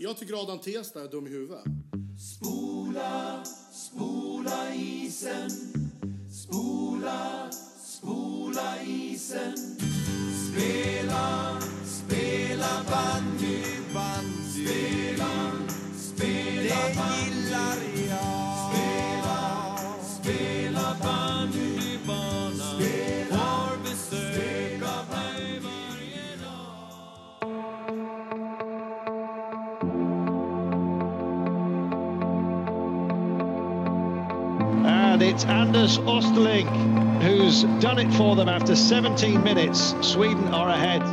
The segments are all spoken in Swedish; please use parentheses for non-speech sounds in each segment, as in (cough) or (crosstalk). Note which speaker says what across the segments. Speaker 1: Jag tycker Adam Testa är dum i huvudet.
Speaker 2: And it's Anders Osterling who's done it for them after 17 minutes. Sweden are ahead.
Speaker 3: Eh,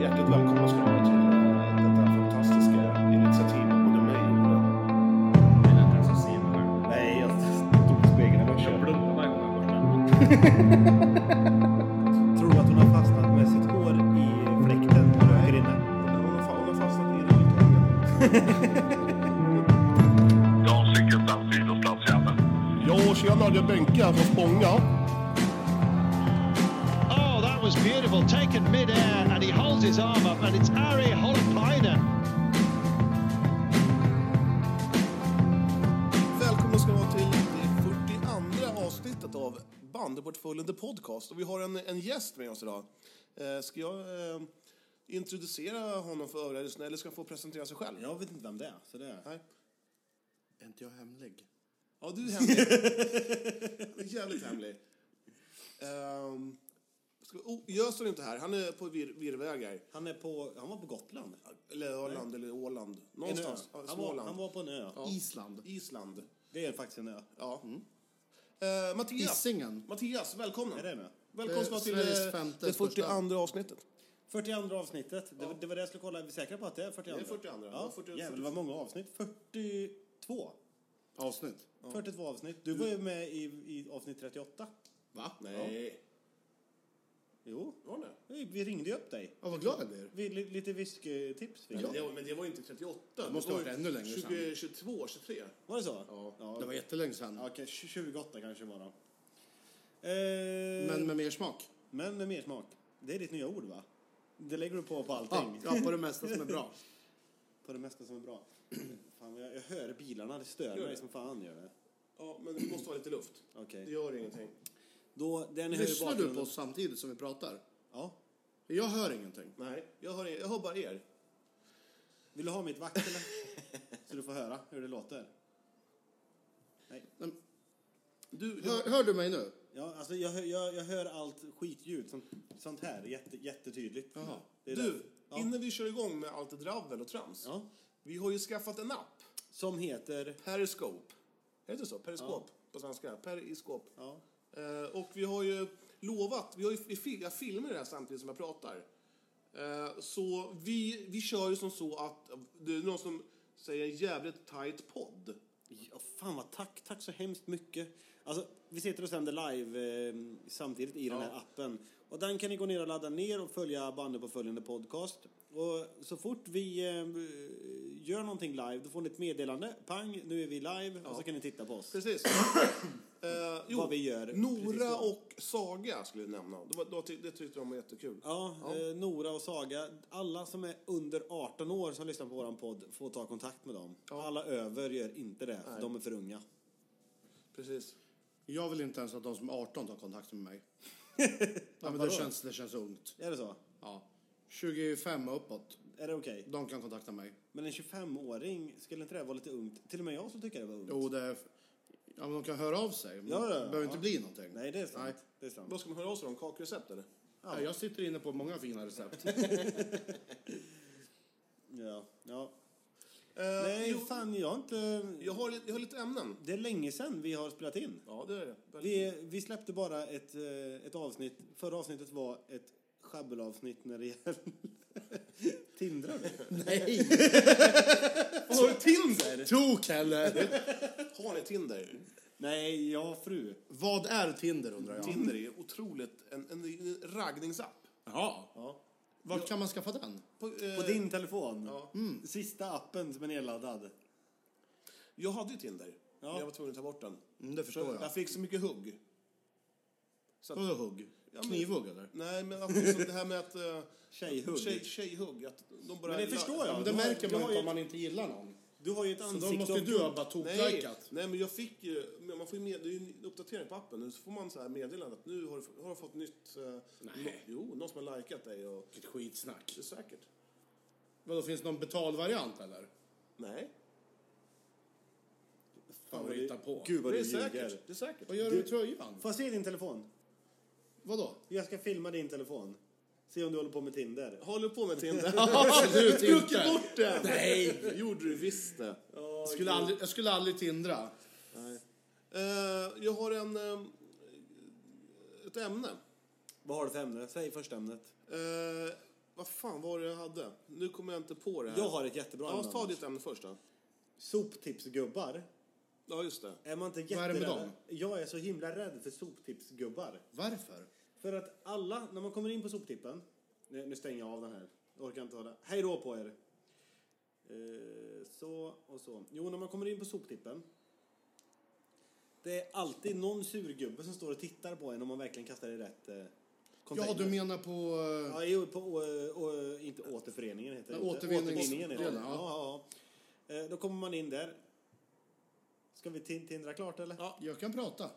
Speaker 3: Hjärtligt välkomna ska ni vara till eh, detta fantastiska initiativ av både mig och Ola. Nej, jag stod i spegeln i morse. (laughs)
Speaker 4: Tror att hon har fastnat med sitt hår i fläkten på röker inne.
Speaker 3: Hon har fan- hon har fastnat i rulltåget. (laughs)
Speaker 5: Jag har cykelplats, idrottsplats, jävel.
Speaker 6: Ja, tjena, det är Benke här från Spånga.
Speaker 2: Oh, that was beautiful. Taken mid-air and he holds his arm up and it's Ari Holopainen.
Speaker 6: Välkomna ska ni vara till det 42 avsnittet av Bandyportföljen The Podcast. Och vi har en, en gäst med oss idag. Eh, ska jag eh, introducera honom för övriga lyssnare eller ska han få presentera sig själv?
Speaker 4: Jag vet inte vem det är, så det är...
Speaker 6: Nej.
Speaker 1: Är inte jag hemlig?
Speaker 6: Ja, du är
Speaker 4: (laughs)
Speaker 6: hemlig. Han är jävligt hemlig. Um, ska, oh, Gös är inte här. Han är på vir, virrvägar.
Speaker 4: Han, är på, han var på Gotland.
Speaker 6: Eller Öland eller Åland.
Speaker 4: En ö.
Speaker 6: Någonstans. Ja,
Speaker 4: Han, var,
Speaker 6: Småland.
Speaker 4: han var på en ö.
Speaker 6: Ja.
Speaker 1: Island.
Speaker 6: Island.
Speaker 4: Det är faktiskt en ö.
Speaker 6: Ja. Eh, Mattias.
Speaker 1: Isingen.
Speaker 6: Mattias, välkomna.
Speaker 4: Är det en ö?
Speaker 6: Välkomna ska
Speaker 1: Eh,
Speaker 6: till
Speaker 1: Sveriges
Speaker 6: eh,
Speaker 1: femte
Speaker 6: det
Speaker 1: största.
Speaker 6: 42 avsnittet.
Speaker 4: 42 avsnittet. Det, var- det var det jag skulle kolla. Är vi säkra på att det är 42?
Speaker 6: Det är 42.
Speaker 4: Ja,
Speaker 6: 40
Speaker 4: jävlar vad många avsnitt. 42.
Speaker 1: Avsnitt.
Speaker 4: 42 avsnitt. Du var ju med i, i avsnitt 38.
Speaker 1: Va?
Speaker 6: Nej.
Speaker 4: Jo.
Speaker 6: Var det?
Speaker 4: Vi vi ringde ju upp dig.
Speaker 1: Ja, vad glad jag blir.
Speaker 4: Vi, li- lite whiskytips fick
Speaker 6: Men
Speaker 4: vi.
Speaker 6: det, var- men det var ju inte 38. Det
Speaker 1: måste ha
Speaker 6: var ju
Speaker 1: varit ännu längre
Speaker 6: 20, 22, 23.
Speaker 4: Var det så?
Speaker 6: Ja.
Speaker 1: Det var jättelänge sedan.
Speaker 4: Ja, okej, 28 kanske var de. Eh,
Speaker 1: Men
Speaker 4: men,
Speaker 1: med mer smak.
Speaker 4: med mer smak. Det är ditt nya ord va? Det lägger du på på
Speaker 1: Ja,
Speaker 4: allting.
Speaker 1: ja, på det mesta som är bra.
Speaker 4: På det mesta som är bra. fan, jag, jag hör bilarna, det stör
Speaker 6: Gör
Speaker 4: mig
Speaker 6: det.
Speaker 4: som fan gör det.
Speaker 6: Ja, men det måste ha lite luft.
Speaker 4: Okej.
Speaker 6: Det gör ingenting.
Speaker 4: Då, den hör
Speaker 1: (laughs) Lyssnar du på
Speaker 4: bakgrunden.
Speaker 1: oss samtidigt som vi pratar?
Speaker 4: Ja.
Speaker 1: Jag hör ingenting.
Speaker 6: Nej, jag hör, er- jag hör bara er.
Speaker 4: Vill du ha mitt vakt
Speaker 1: (laughs)
Speaker 4: eller? Så du får höra hur det låter.
Speaker 1: Men,
Speaker 6: Du, du,
Speaker 1: Hör, hör du mig nu?
Speaker 4: Ja, alltså jag, hör- jag, jag hör allt skitljud, sånt, sånt här, jätte, jättetydligt.
Speaker 1: Jaha.
Speaker 4: Det är
Speaker 6: du
Speaker 4: därför. ja.
Speaker 6: innan vi kör igång med allt dravel och trams.
Speaker 4: ja.
Speaker 6: Vi har ju skaffat en app.
Speaker 4: Som heter...
Speaker 6: Periscope. Heter det så? Periskop på svenska. Periskop.
Speaker 4: Ja.
Speaker 6: Eh, och vi har ju lovat, vi har ju, vi fil, jag filmar det här samtidigt som jag pratar. Eh, så vi, vi kör ju som så att, det är någon som säger en jävligt tight podd.
Speaker 4: Ja, fan vad tack. Tack så hemskt mycket. Alltså, vi sitter och sänder live eh, samtidigt i den här appen. Och den kan ni gå ner och ladda ner och följa bandet på följande podcast. Och så fort vi eh, gör någonting live, då får ni ett meddelande. Pang, nu är vi live. Och så kan ni titta på oss.
Speaker 6: (coughs) Precis. Eh, jo,
Speaker 4: Vad vi gör.
Speaker 6: Nora
Speaker 4: Precis.
Speaker 6: och Saga skulle jag nämna. Det, var, det, var, ty- det tyckte de var jättekul.
Speaker 4: Ja, Eh, Nora och Saga. Alla som är under 18 år som lyssnar på våran podd får ta kontakt med dem. Alla över gör inte det, för de är för unga.
Speaker 6: Precis.
Speaker 1: Jag vill inte ens att de som är 18 tar kontakt med (laughs) mig. ja, men det, känns, det känns ungt.
Speaker 4: Är det så?
Speaker 1: Ja. 25 och uppåt,
Speaker 4: Är det okej?
Speaker 1: de kan kontakta mig.
Speaker 4: Men en 25-åring, skulle inte det vara lite ungt? Till och med jag som tycker det var ungt.
Speaker 1: Jo, det är... Ja, men de kan höra av sig. men
Speaker 4: Ja, ja,
Speaker 1: det
Speaker 4: ja.
Speaker 1: behöver inte
Speaker 4: Ja.
Speaker 1: bli någonting.
Speaker 4: Nej, det är sant.
Speaker 1: Nej.
Speaker 4: Det är sant.
Speaker 6: Vad ska man höra av sig om? Kakrecept eller?
Speaker 1: Ja, jag sitter inne på många fina recept. (laughs)
Speaker 4: Ja, ja.
Speaker 6: Eh,
Speaker 4: Nej,
Speaker 6: jo,
Speaker 4: fan, jag har inte...
Speaker 6: jag, har, lite- jag har lite ämnen.
Speaker 4: Det är länge sedan vi har spelat in.
Speaker 6: Ja, det är det. Väldigt-
Speaker 4: Vi, vi släppte bara ett, eh, ett avsnitt. Förra avsnittet var ett schabbelavsnitt när det gäller... (laughs) Tindrar du? (laughs)
Speaker 1: Nej!
Speaker 6: Har du Tinder?
Speaker 1: Tok heller!
Speaker 6: Har ni Tinder?
Speaker 4: Nej, jag har fru.
Speaker 1: Vad är Tinder undrar jag?
Speaker 6: Tinder är ju otroligt en, en, en raggningsapp.
Speaker 1: Jaha.
Speaker 4: Ja.
Speaker 1: Vart kan man skaffa den?
Speaker 6: På, eh,
Speaker 4: På din telefon. Mm.
Speaker 6: Ja.
Speaker 4: Sista appen som är nedladdad.
Speaker 6: Jag hade ju Tinder. men Jag var tvungen att ta bort den.
Speaker 1: Mm, det förstår jag.
Speaker 6: Jag fick så mycket hugg. Så att,
Speaker 1: Vadå hugg? Knivhugg eller?
Speaker 6: nej, men att, liksom det här med att... (laughs) eh,
Speaker 4: Tjejhugg.
Speaker 6: Tjej, tjejhugg. Att de bara
Speaker 4: Men det förstår jag.
Speaker 1: Ja, men det
Speaker 4: Du har-
Speaker 1: märker
Speaker 4: du
Speaker 1: man
Speaker 4: har
Speaker 1: inte
Speaker 4: ju-
Speaker 1: om man inte gillar någon.
Speaker 4: Du har ju ett
Speaker 1: Då
Speaker 4: ansikte
Speaker 1: måste
Speaker 4: av
Speaker 1: ju du ha
Speaker 4: guld.
Speaker 1: bara
Speaker 6: Nej,
Speaker 1: toplikat.
Speaker 6: nej, men jag fick ju... men Man får ju med, det är ju en uppdatering på appen. Nu så får man så här meddelande att nu har du, f- har du fått nytt... eh, nå- jo, någon som har likat dig och...
Speaker 1: Vilket skitsnack.
Speaker 6: Det är säkert.
Speaker 1: Vadå, finns det någon betalvariant eller?
Speaker 6: Nej.
Speaker 1: Fan vad du hittar på.
Speaker 4: Gud vad
Speaker 6: Det
Speaker 4: du
Speaker 6: är
Speaker 4: ljuger.
Speaker 6: säkert. Det är säkert.
Speaker 1: Vad gör du med tröjan?
Speaker 4: Får jag se din telefon?
Speaker 1: Vadå?
Speaker 4: Jag ska filma din telefon. Se om du håller på med Tinder.
Speaker 6: Håller på
Speaker 4: (laughs)
Speaker 6: med Tinder.
Speaker 1: Absolut
Speaker 6: Tog
Speaker 1: inte.
Speaker 6: bort den! Nej! gjorde du visst det.
Speaker 1: Jag skulle aldrig, jag skulle aldrig tindra.
Speaker 6: Eh, jag har en... eh, ett ämne.
Speaker 4: Vad har du för ämne? Säg första ämnet.
Speaker 6: Eh, vad fan var det jag hade? Nu kommer jag inte på det här.
Speaker 4: Jag har ett jättebra
Speaker 6: Ja,
Speaker 4: ämne,
Speaker 6: ta
Speaker 4: Anders.
Speaker 6: ditt ämne först då.
Speaker 4: Soptipsgubbar.
Speaker 6: Ja, just det.
Speaker 4: Är man inte
Speaker 1: Vad är det med
Speaker 4: jätterädd? Jag är så himla rädd för soptipsgubbar.
Speaker 1: Varför?
Speaker 4: För att alla, när man kommer in på soptippen. Nu, nu stänger jag av den här. Jag orkar inte ha det. Hej då på er. Eh, så och så. Jo, när man kommer in på soptippen. Det är alltid någon surgubbe som står och tittar på en om man verkligen kastar i rätt eh,
Speaker 1: Ja,
Speaker 4: container.
Speaker 1: du menar på... eh,
Speaker 4: Ja, jo, på, eh, och, och, inte återföreningen heter det.
Speaker 1: Nej,
Speaker 4: inte.
Speaker 1: återvinnings-
Speaker 4: heter det.
Speaker 1: delen,
Speaker 4: Ja, ja. Eh, Då kommer man in där. Ska vi tin- tindra klart eller? Ja.
Speaker 1: Jag kan prata.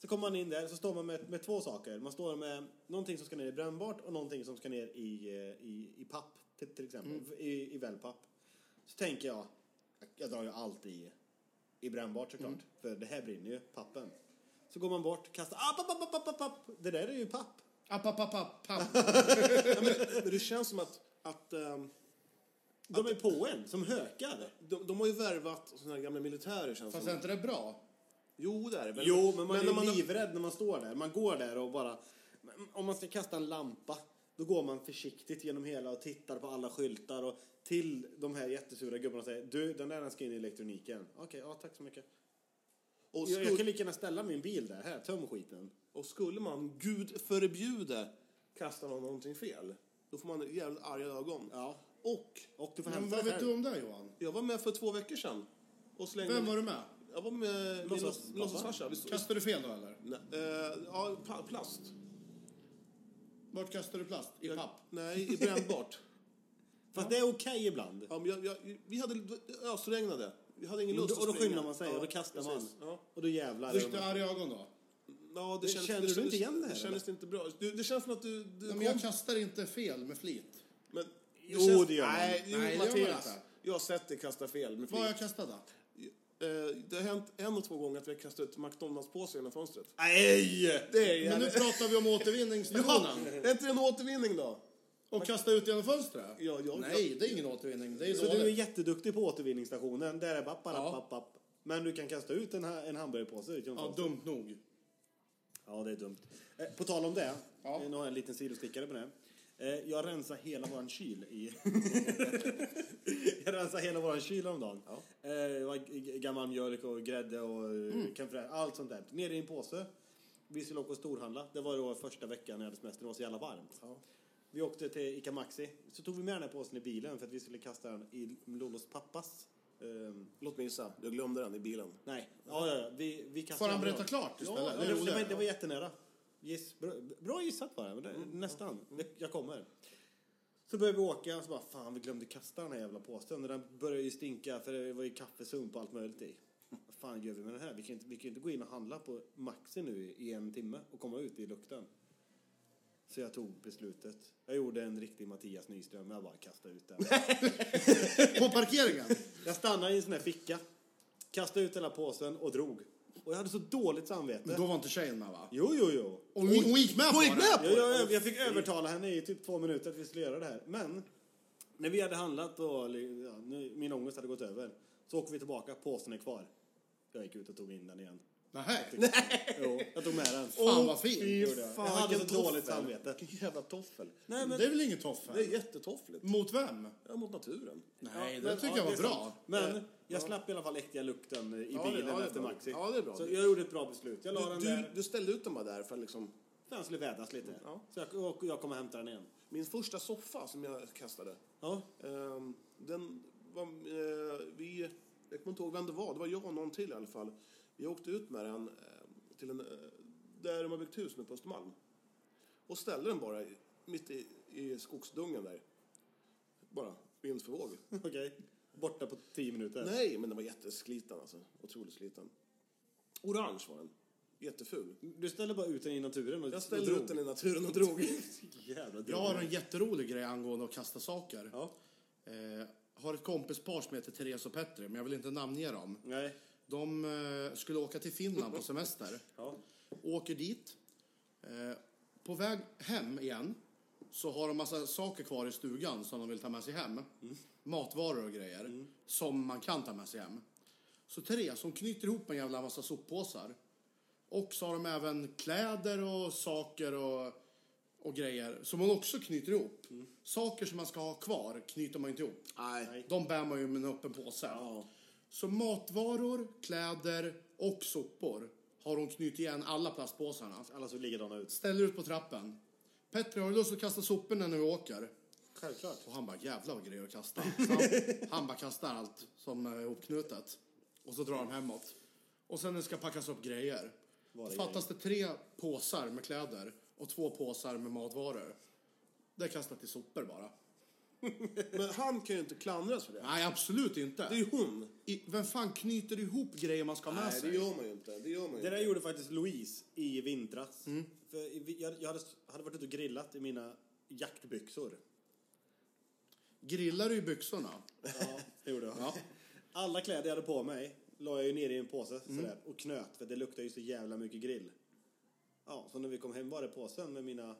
Speaker 4: Så kommer man in där så står man med, med två saker. Man står med någonting som ska ner i brännbart och någonting som ska ner i, eh, i, i papp till, till exempel. I, I wellpapp. Så tänker jag, jag drar ju allt i, i brännbart såklart. För det här brinner ju, pappen. Så går man bort, kastar, app, app, app, app, app, app. Det där är ju papp.
Speaker 1: App, app, app, app, app.
Speaker 6: Men det känns som att... att ehm,
Speaker 4: De är på en, som hökar.
Speaker 6: de, de har ju värvat såna här gamla militärer känns
Speaker 1: Fast är
Speaker 6: som.
Speaker 1: inte det bra?
Speaker 6: Jo, det är det.
Speaker 4: Jo, men man är
Speaker 6: när
Speaker 4: ju
Speaker 6: har-
Speaker 4: livrädd när man står där. Man går där och bara... men Om man ska kasta en lampa, då går man försiktigt genom hela och tittar på alla skyltar och till de här jättesura gubbarna och säger du, den där den ska in i elektroniken. Okej, ja tack så mycket.
Speaker 6: och,
Speaker 4: Jag, jag kan
Speaker 6: skulle,
Speaker 4: lika gärna ställa min bil där. Här, töm skiten.
Speaker 6: och skulle man, gud förbjude, kasta någon någonting fel, då får man jävligt arga ögon.
Speaker 4: Ja.
Speaker 6: Och
Speaker 4: Och du får
Speaker 1: Men
Speaker 4: hämta
Speaker 1: vad
Speaker 4: det
Speaker 1: vet
Speaker 4: själv.
Speaker 1: du om det Johan?
Speaker 6: jag var med för två veckor sedan. Och slängde...
Speaker 1: Vem var du med?
Speaker 6: Jag var med min
Speaker 4: Låtsas-
Speaker 6: låts- låtsasfarsa. Vi stod-
Speaker 1: Kastade du fel då eller?
Speaker 6: Nej, eh, ja, pa- plast.
Speaker 1: Vart kastade du plast? I papp?
Speaker 6: Nej,
Speaker 4: (laughs)
Speaker 6: i brännbart.
Speaker 4: Fast det är okej ibland.
Speaker 6: ja, men jag, jag, vi hade det ösregnade. Vi hade ingen
Speaker 4: Och
Speaker 6: lust
Speaker 4: då, och då
Speaker 6: att springa.
Speaker 4: skyndar man sig
Speaker 6: Ja,
Speaker 4: och då kastar
Speaker 6: precis.
Speaker 4: man.
Speaker 6: Ja.
Speaker 4: Och då jävlar.
Speaker 1: Fick du arga ögon då?
Speaker 6: Ja, det
Speaker 4: Det-
Speaker 6: kändes,
Speaker 4: känner du inte igen det här,
Speaker 6: Det kändes inte bra. Du, det känns som att du... du
Speaker 1: Nej,
Speaker 6: kom,
Speaker 1: men jag kastar inte fel med flit.
Speaker 6: men, det
Speaker 4: Jo, det gör man.
Speaker 6: Nej, jo,
Speaker 1: Nej, det gör man
Speaker 6: Mattias.
Speaker 1: inte.
Speaker 6: Jag har sett dig kasta fel med
Speaker 1: Vad har jag
Speaker 6: flit.
Speaker 1: kastat då?
Speaker 6: Eh, Det har hänt en och två gånger att vi har kastat ut McDonalds-påse genom fönstret.
Speaker 4: Nej!
Speaker 6: Det är
Speaker 1: Men nu
Speaker 6: jävligt...
Speaker 1: pratar vi om
Speaker 6: (laughs) Ja,
Speaker 1: återvinningsstationen.
Speaker 6: är inte det en återvinning då?
Speaker 1: Och kasta ut genom fönstret?
Speaker 6: Ja, ja,
Speaker 1: Nej, det är ingen återvinning. Det är
Speaker 4: Så du är
Speaker 1: dåligt.
Speaker 4: jätteduktig på återvinningsstationen. Där är bapp,
Speaker 1: Ja.
Speaker 4: bapp, bapp. Men du kan kasta ut en, ha- en hamburgerpåse. utan
Speaker 1: Ja,
Speaker 4: fönster.
Speaker 1: dumt nog.
Speaker 4: Ja, det är dumt. Eh, på tal om det,
Speaker 1: Ja.
Speaker 4: eh, nu har jag en liten sidostickare på det. Eh, jag rensar hela våran kyl
Speaker 6: (laughs)
Speaker 4: i... jag rensar hela våran kyl om dagen. Eh, det var g- g- gammal mjölk och grädde och mm. allt sånt där. Ner i en påse. Vi skulle åka och storhandla. Det var då första veckan när jag hade semester. Det var så jävla varmt. Vi åkte till Ica Maxi. Så tog vi med den här påsen i bilen för att vi skulle kasta den i Lollos pappas... ehm,
Speaker 6: Låt mig gissa. Jag glömde den i bilen.
Speaker 4: nej. Ja, ja, ja. Vi, vi
Speaker 1: Får
Speaker 4: kastade
Speaker 1: han
Speaker 4: den
Speaker 1: berätta
Speaker 4: bra.
Speaker 1: klart istället?
Speaker 4: Ja,
Speaker 1: det är
Speaker 4: det, det, var,
Speaker 1: roligare.
Speaker 4: det var jättenära. Giss, bra, bra gissat bara, men det,
Speaker 1: Mm.
Speaker 4: nästan. Det, jag kommer. Så började vi åka och så bara, fan vi glömde kasta den här jävla påsen. Och Den började ju stinka för det var ju kaffesump och allt möjligt i. Vad fan gör vi med den här? Vi kan ju inte, vi kan ju inte gå in och handla på Maxi nu i- i en timme och komma ut i lukten. Så jag tog beslutet. Jag gjorde en riktig Mattias Nyström. Jag bara kastade ut den.
Speaker 1: På parkeringen?
Speaker 4: Jag stannade i en sån här ficka. Kastade ut hela påsen och drog. Och jag hade så dåligt samvete.
Speaker 1: Men då var inte tjejen med va?
Speaker 4: Jo, jo, jo.
Speaker 1: Och hon hon gick med på det?
Speaker 4: Ja, jag, jag, jag fick övertala henne i typ två minuter att vi skulle göra det här. Men när vi hade handlat och li- ja, nu, min ångest hade gått över så åker vi tillbaka, påsen är kvar. Jag gick ut och tog in den igen.
Speaker 1: Nej.
Speaker 4: Jo, jag tog med den.
Speaker 1: Fan vad fint.
Speaker 4: Gjorde jag. jag hade så dåligt samvete.
Speaker 6: Vilken jävla toffel.
Speaker 4: Nej, men,
Speaker 1: Det är väl inget
Speaker 6: Det är
Speaker 1: toffel?
Speaker 6: jättetoffligt.
Speaker 1: Mot vem?
Speaker 6: Ja, mot naturen.
Speaker 1: Nej,
Speaker 4: men-
Speaker 1: det tycker
Speaker 4: ja,
Speaker 1: jag var
Speaker 4: det är sant.
Speaker 1: bra.
Speaker 4: Men jag slapp i alla fall äckliga lukten i
Speaker 6: Ja, det-
Speaker 4: bilen
Speaker 6: ja, det är
Speaker 4: efter
Speaker 6: bra.
Speaker 4: Maxi.
Speaker 6: Ja, det är bra.
Speaker 4: Så jag gjorde ett bra beslut. Jag la
Speaker 6: Du,
Speaker 4: den
Speaker 6: du,
Speaker 4: där.
Speaker 6: du ställde ut den bara där för att liksom...
Speaker 4: Den skulle vädras lite.
Speaker 6: Ja.
Speaker 4: Så jag, och jag kommer hämta den igen.
Speaker 6: Min första soffa som jag kastade,
Speaker 4: Ja.
Speaker 6: ehm, den var... eh, vi, jag kommer inte ihåg vem det var, det var jag och någon till i alla fall. Vi åkte ut med den eh, till en, eh, där de har byggt hus nu på Östermalm. Och ställde den bara i- mitt i, i skogsdungen där. Bara vind för våg.
Speaker 4: (laughs) Okej. Borta på tio minuter.
Speaker 6: Nej, men den var jättesliten alltså. Otroligt sliten. Orange var den. Jätteful.
Speaker 4: Du ställer bara ut den i naturen och
Speaker 6: Jag ställde ut den i naturen och drog.
Speaker 4: (laughs) Jävla
Speaker 1: Jag
Speaker 4: drog.
Speaker 1: har en jätterolig grej angående att kasta saker.
Speaker 4: Ja.
Speaker 1: Eh, har ett kompispar som heter Therese och Petri, men jag vill inte namnge dem.
Speaker 4: Nej.
Speaker 1: De eh, skulle åka till Finland på semester.
Speaker 4: Ja.
Speaker 1: Åker dit. Eh, på väg hem igen så har de massa saker kvar i stugan som de vill ta med sig hem. Matvaror och grejer som man kan ta med sig hem. Så Therese, hon knyter ihop en jävla massa soppåsar. Och så har de även kläder och saker och, och grejer som hon också knyter ihop. Saker som man ska ha kvar knyter man inte ihop.
Speaker 6: Nej.
Speaker 1: De bär man ju med en öppen påse. Så matvaror, kläder och sopor har hon knutit igen alla plastpåsarna.
Speaker 4: Alla såg likadana ut.
Speaker 1: Ställer ut på trappen. Petri, har du lust att kasta soporna när vi åker?
Speaker 4: Självklart.
Speaker 1: Och han bara, jävlar vad grejer att
Speaker 4: (laughs)
Speaker 1: kasta. Så han, han bara kastar allt som är ihopknutet. Och så drar de hemåt. Och sen när det ska packas upp grejer. Då fattas det tre påsar med kläder och två påsar med matvaror. Det är kastat i sopor bara.
Speaker 6: Men han kan ju inte klandras för det.
Speaker 1: Nej, absolut inte.
Speaker 6: Det är ju hon.
Speaker 1: I, vem fan knyter ihop grejer man ska ha med
Speaker 6: Nej,
Speaker 1: sig?
Speaker 6: det gör man ju inte. Det gör man ju
Speaker 4: Det där
Speaker 6: inte.
Speaker 4: gjorde faktiskt Louise i vintras.
Speaker 6: Mm.
Speaker 4: För i- jag, jag hade, hade varit ute och grillat i mina jaktbyxor.
Speaker 1: Grillar du i byxorna?
Speaker 4: Ja, (laughs) det gjorde jag. Alla kläder jag hade på mig la jag ju ner i en påse sådär, och knöt för det luktade ju så jävla mycket grill. Ja, så när vi kom hem var det påsen med mina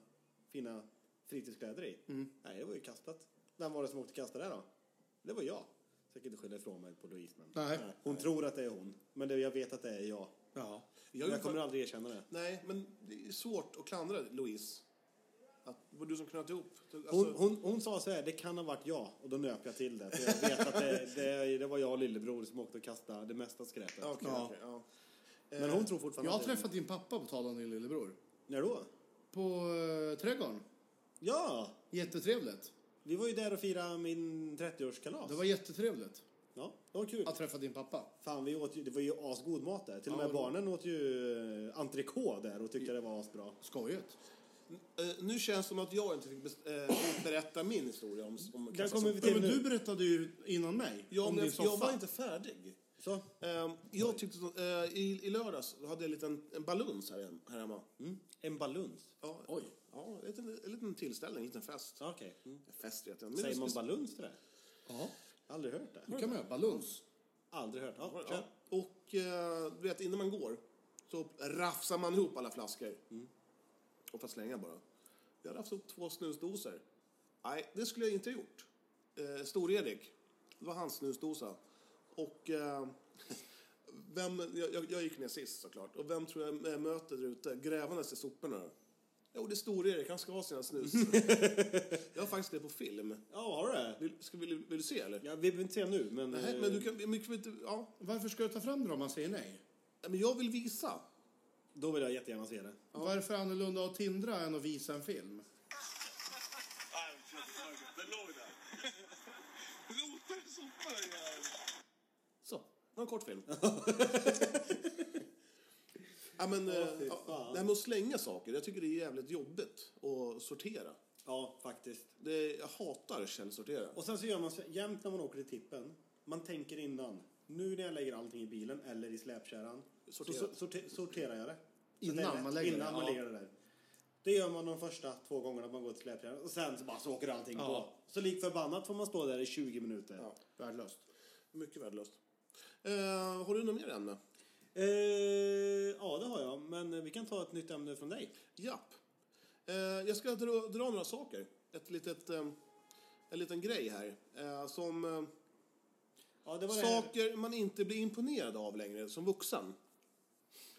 Speaker 4: fina fritidskläder i. Nej, det var ju kastat. Vem var det som åkte kasta det då? Det var jag. Så jag kan inte skylla ifrån mig på Louise. Men
Speaker 1: Nej.
Speaker 4: Hon tror att det är hon, men det, jag vet att det är jag.
Speaker 1: Ja.
Speaker 4: Jag,
Speaker 6: gjorde
Speaker 4: jag kommer
Speaker 6: fa-
Speaker 4: aldrig erkänna det.
Speaker 6: Nej, men det är svårt att klandra Louise. Att det var du som knöt ihop. Alltså,
Speaker 4: Hon, hon, hon sa så här, det kan ha varit jag. Och då nöp jag till det. För jag vet att det, det, det var jag och lillebror som åkte och kastade det mesta skräpet.
Speaker 6: Ja, okej,
Speaker 1: Ja.
Speaker 6: okej, ja.
Speaker 4: Men hon tror fortfarande
Speaker 1: Jag har
Speaker 4: att det är-
Speaker 1: träffat din pappa på tal om din lillebror.
Speaker 4: När då?
Speaker 1: På eh, trädgården.
Speaker 4: Ja!
Speaker 1: Jättetrevligt.
Speaker 4: Vi var ju där och firade min 30-årskalas.
Speaker 1: Det var jättetrevligt
Speaker 4: Ja, det var kul.
Speaker 1: att träffa din pappa.
Speaker 4: Fan, vi åt ju, det var ju asgod mat där. Till och med
Speaker 1: det var-
Speaker 4: barnen åt ju eh, entrecote där och tyckte det var asbra.
Speaker 1: Skojigt.
Speaker 6: Eh, nu känns det som att jag inte fick bes- eh, berätta min historia om, om alltså,
Speaker 4: Där kommer vi
Speaker 1: Ja,
Speaker 4: till
Speaker 1: men
Speaker 4: nu.
Speaker 1: du berättade ju innan mig
Speaker 6: Ja,
Speaker 1: om din
Speaker 6: men jag,
Speaker 1: soffa.
Speaker 6: jag var inte färdig.
Speaker 4: Så,
Speaker 6: Ehm, jag tyckte så, eh, i, i lördags hade jag en liten en baluns här, hem- här hemma.
Speaker 4: en baluns.
Speaker 6: Ja, Oj. Ja, en liten, en liten tillställning, en liten fest.
Speaker 4: Ja, Okej.
Speaker 6: Fest vet jag inte.
Speaker 4: Säger
Speaker 6: Men
Speaker 4: man
Speaker 6: det-
Speaker 4: baluns till det?
Speaker 1: Ja,
Speaker 4: Aldrig hört det.
Speaker 1: nu kan man göra baluns.
Speaker 4: Aldrig hört. Ja,
Speaker 6: Ja.
Speaker 4: kör.
Speaker 6: Och eh, du vet, innan man går så rafsar man ihop alla flaskor.
Speaker 4: Mm.
Speaker 6: Och får slänga bara. Jag rafsade upp två snusdosor. Nej, det skulle jag inte ha gjort. Eh, Stor-Erik, det var hans snusdosa. Och eh, (laughs) vem, jag, jag, jag gick ner sist såklart. Och vem tror jag eh, möter där ute grävandes i soporna? Jo, det är Stor-Erik. Han ska ha sina snus.
Speaker 4: (laughs)
Speaker 6: jag har faktiskt det på film.
Speaker 4: Ja, har du det?
Speaker 6: Vill, ska, vill, vill du se eller?
Speaker 4: Ja, vi behöver inte se nu, men...
Speaker 6: Nej,
Speaker 4: eh,
Speaker 6: men du kan... Men, kan vi inte, ja.
Speaker 1: Varför ska du ta fram det om man säger nej?
Speaker 6: men jag vill visa.
Speaker 4: Då vill jag jättegärna se det.
Speaker 1: Vad är det för annorlunda att tindra än att visa en film?
Speaker 6: Så, det var en kort film. (laughs) ja, men, eh, ja, det här med att slänga saker, jag tycker det är jävligt jobbigt att sortera.
Speaker 4: Ja, faktiskt.
Speaker 6: Det, jag hatar källsortera.
Speaker 4: Och sen så gör man så, jämt när man åker till tippen, man tänker innan. Nu när jag lägger allting i bilen eller i släpkärran så,
Speaker 6: Sortera.
Speaker 4: so- sorte, sorterar jag det. Så
Speaker 1: Innan
Speaker 4: det är rätt,
Speaker 1: man lägger det,
Speaker 4: innan man
Speaker 1: ja.
Speaker 4: lägger det där. Det gör man de första två gångerna man går till släpkärran och sen så bara så åker allting på. Så lik förbannat får man stå där i 20 minuter.
Speaker 1: Värdelöst.
Speaker 6: Mycket värdelöst. Eh, har du något mer ämne?
Speaker 4: Eh, ja, det har jag. Men vi kan ta ett nytt ämne från dig.
Speaker 6: Japp. Eh, jag ska dra, dra några saker. Ett litet, eh, en liten grej här. Eh, som eh,
Speaker 4: Ja, det var det.
Speaker 6: saker man inte blir imponerad av längre som vuxen.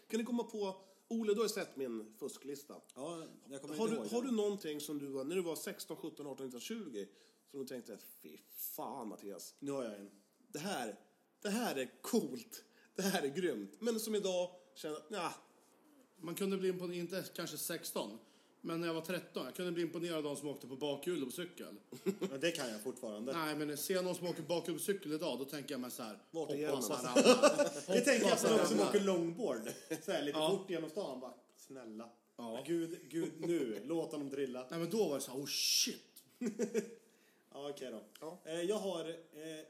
Speaker 6: Kan du komma på... Ole, du har ju sett min fusklista.
Speaker 4: Ja, jag kommer
Speaker 6: Har
Speaker 4: inte
Speaker 6: du,
Speaker 4: ihåg
Speaker 6: har
Speaker 4: det.
Speaker 6: du någonting som du var, när du var 16, 17, 18, 19, 20 som du tänkte, fy fan Mattias,
Speaker 4: Nu har jag en.
Speaker 6: det här, det här är coolt, det här är grymt. Men som idag känner, nah,
Speaker 1: Man kunde bli imponerad, inte kanske 16, Men när jag var 13, jag kunde bli imponerad av de som åkte på bakhjul på cykel.
Speaker 4: Men det kan jag fortfarande.
Speaker 1: Nej, men ser jag någon som åker bakhjul på cykel idag, då tänker jag mig så här.
Speaker 4: Vart är
Speaker 1: hoppas
Speaker 4: hjälmen?
Speaker 1: han
Speaker 6: alltså?
Speaker 1: ramlar.
Speaker 4: Det tänker jag
Speaker 1: Hoppas
Speaker 4: på
Speaker 1: han
Speaker 4: de som
Speaker 1: ramlar.
Speaker 4: åker longboard. Så här, lite
Speaker 1: Ja.
Speaker 4: fort genom stan. Bara, snälla.
Speaker 1: Ja.
Speaker 4: Gud, gud, nu. Låt honom drilla.
Speaker 1: Nej, men då var det så här, oh shit.
Speaker 4: Ja, okej då. Eh, Jag har eh,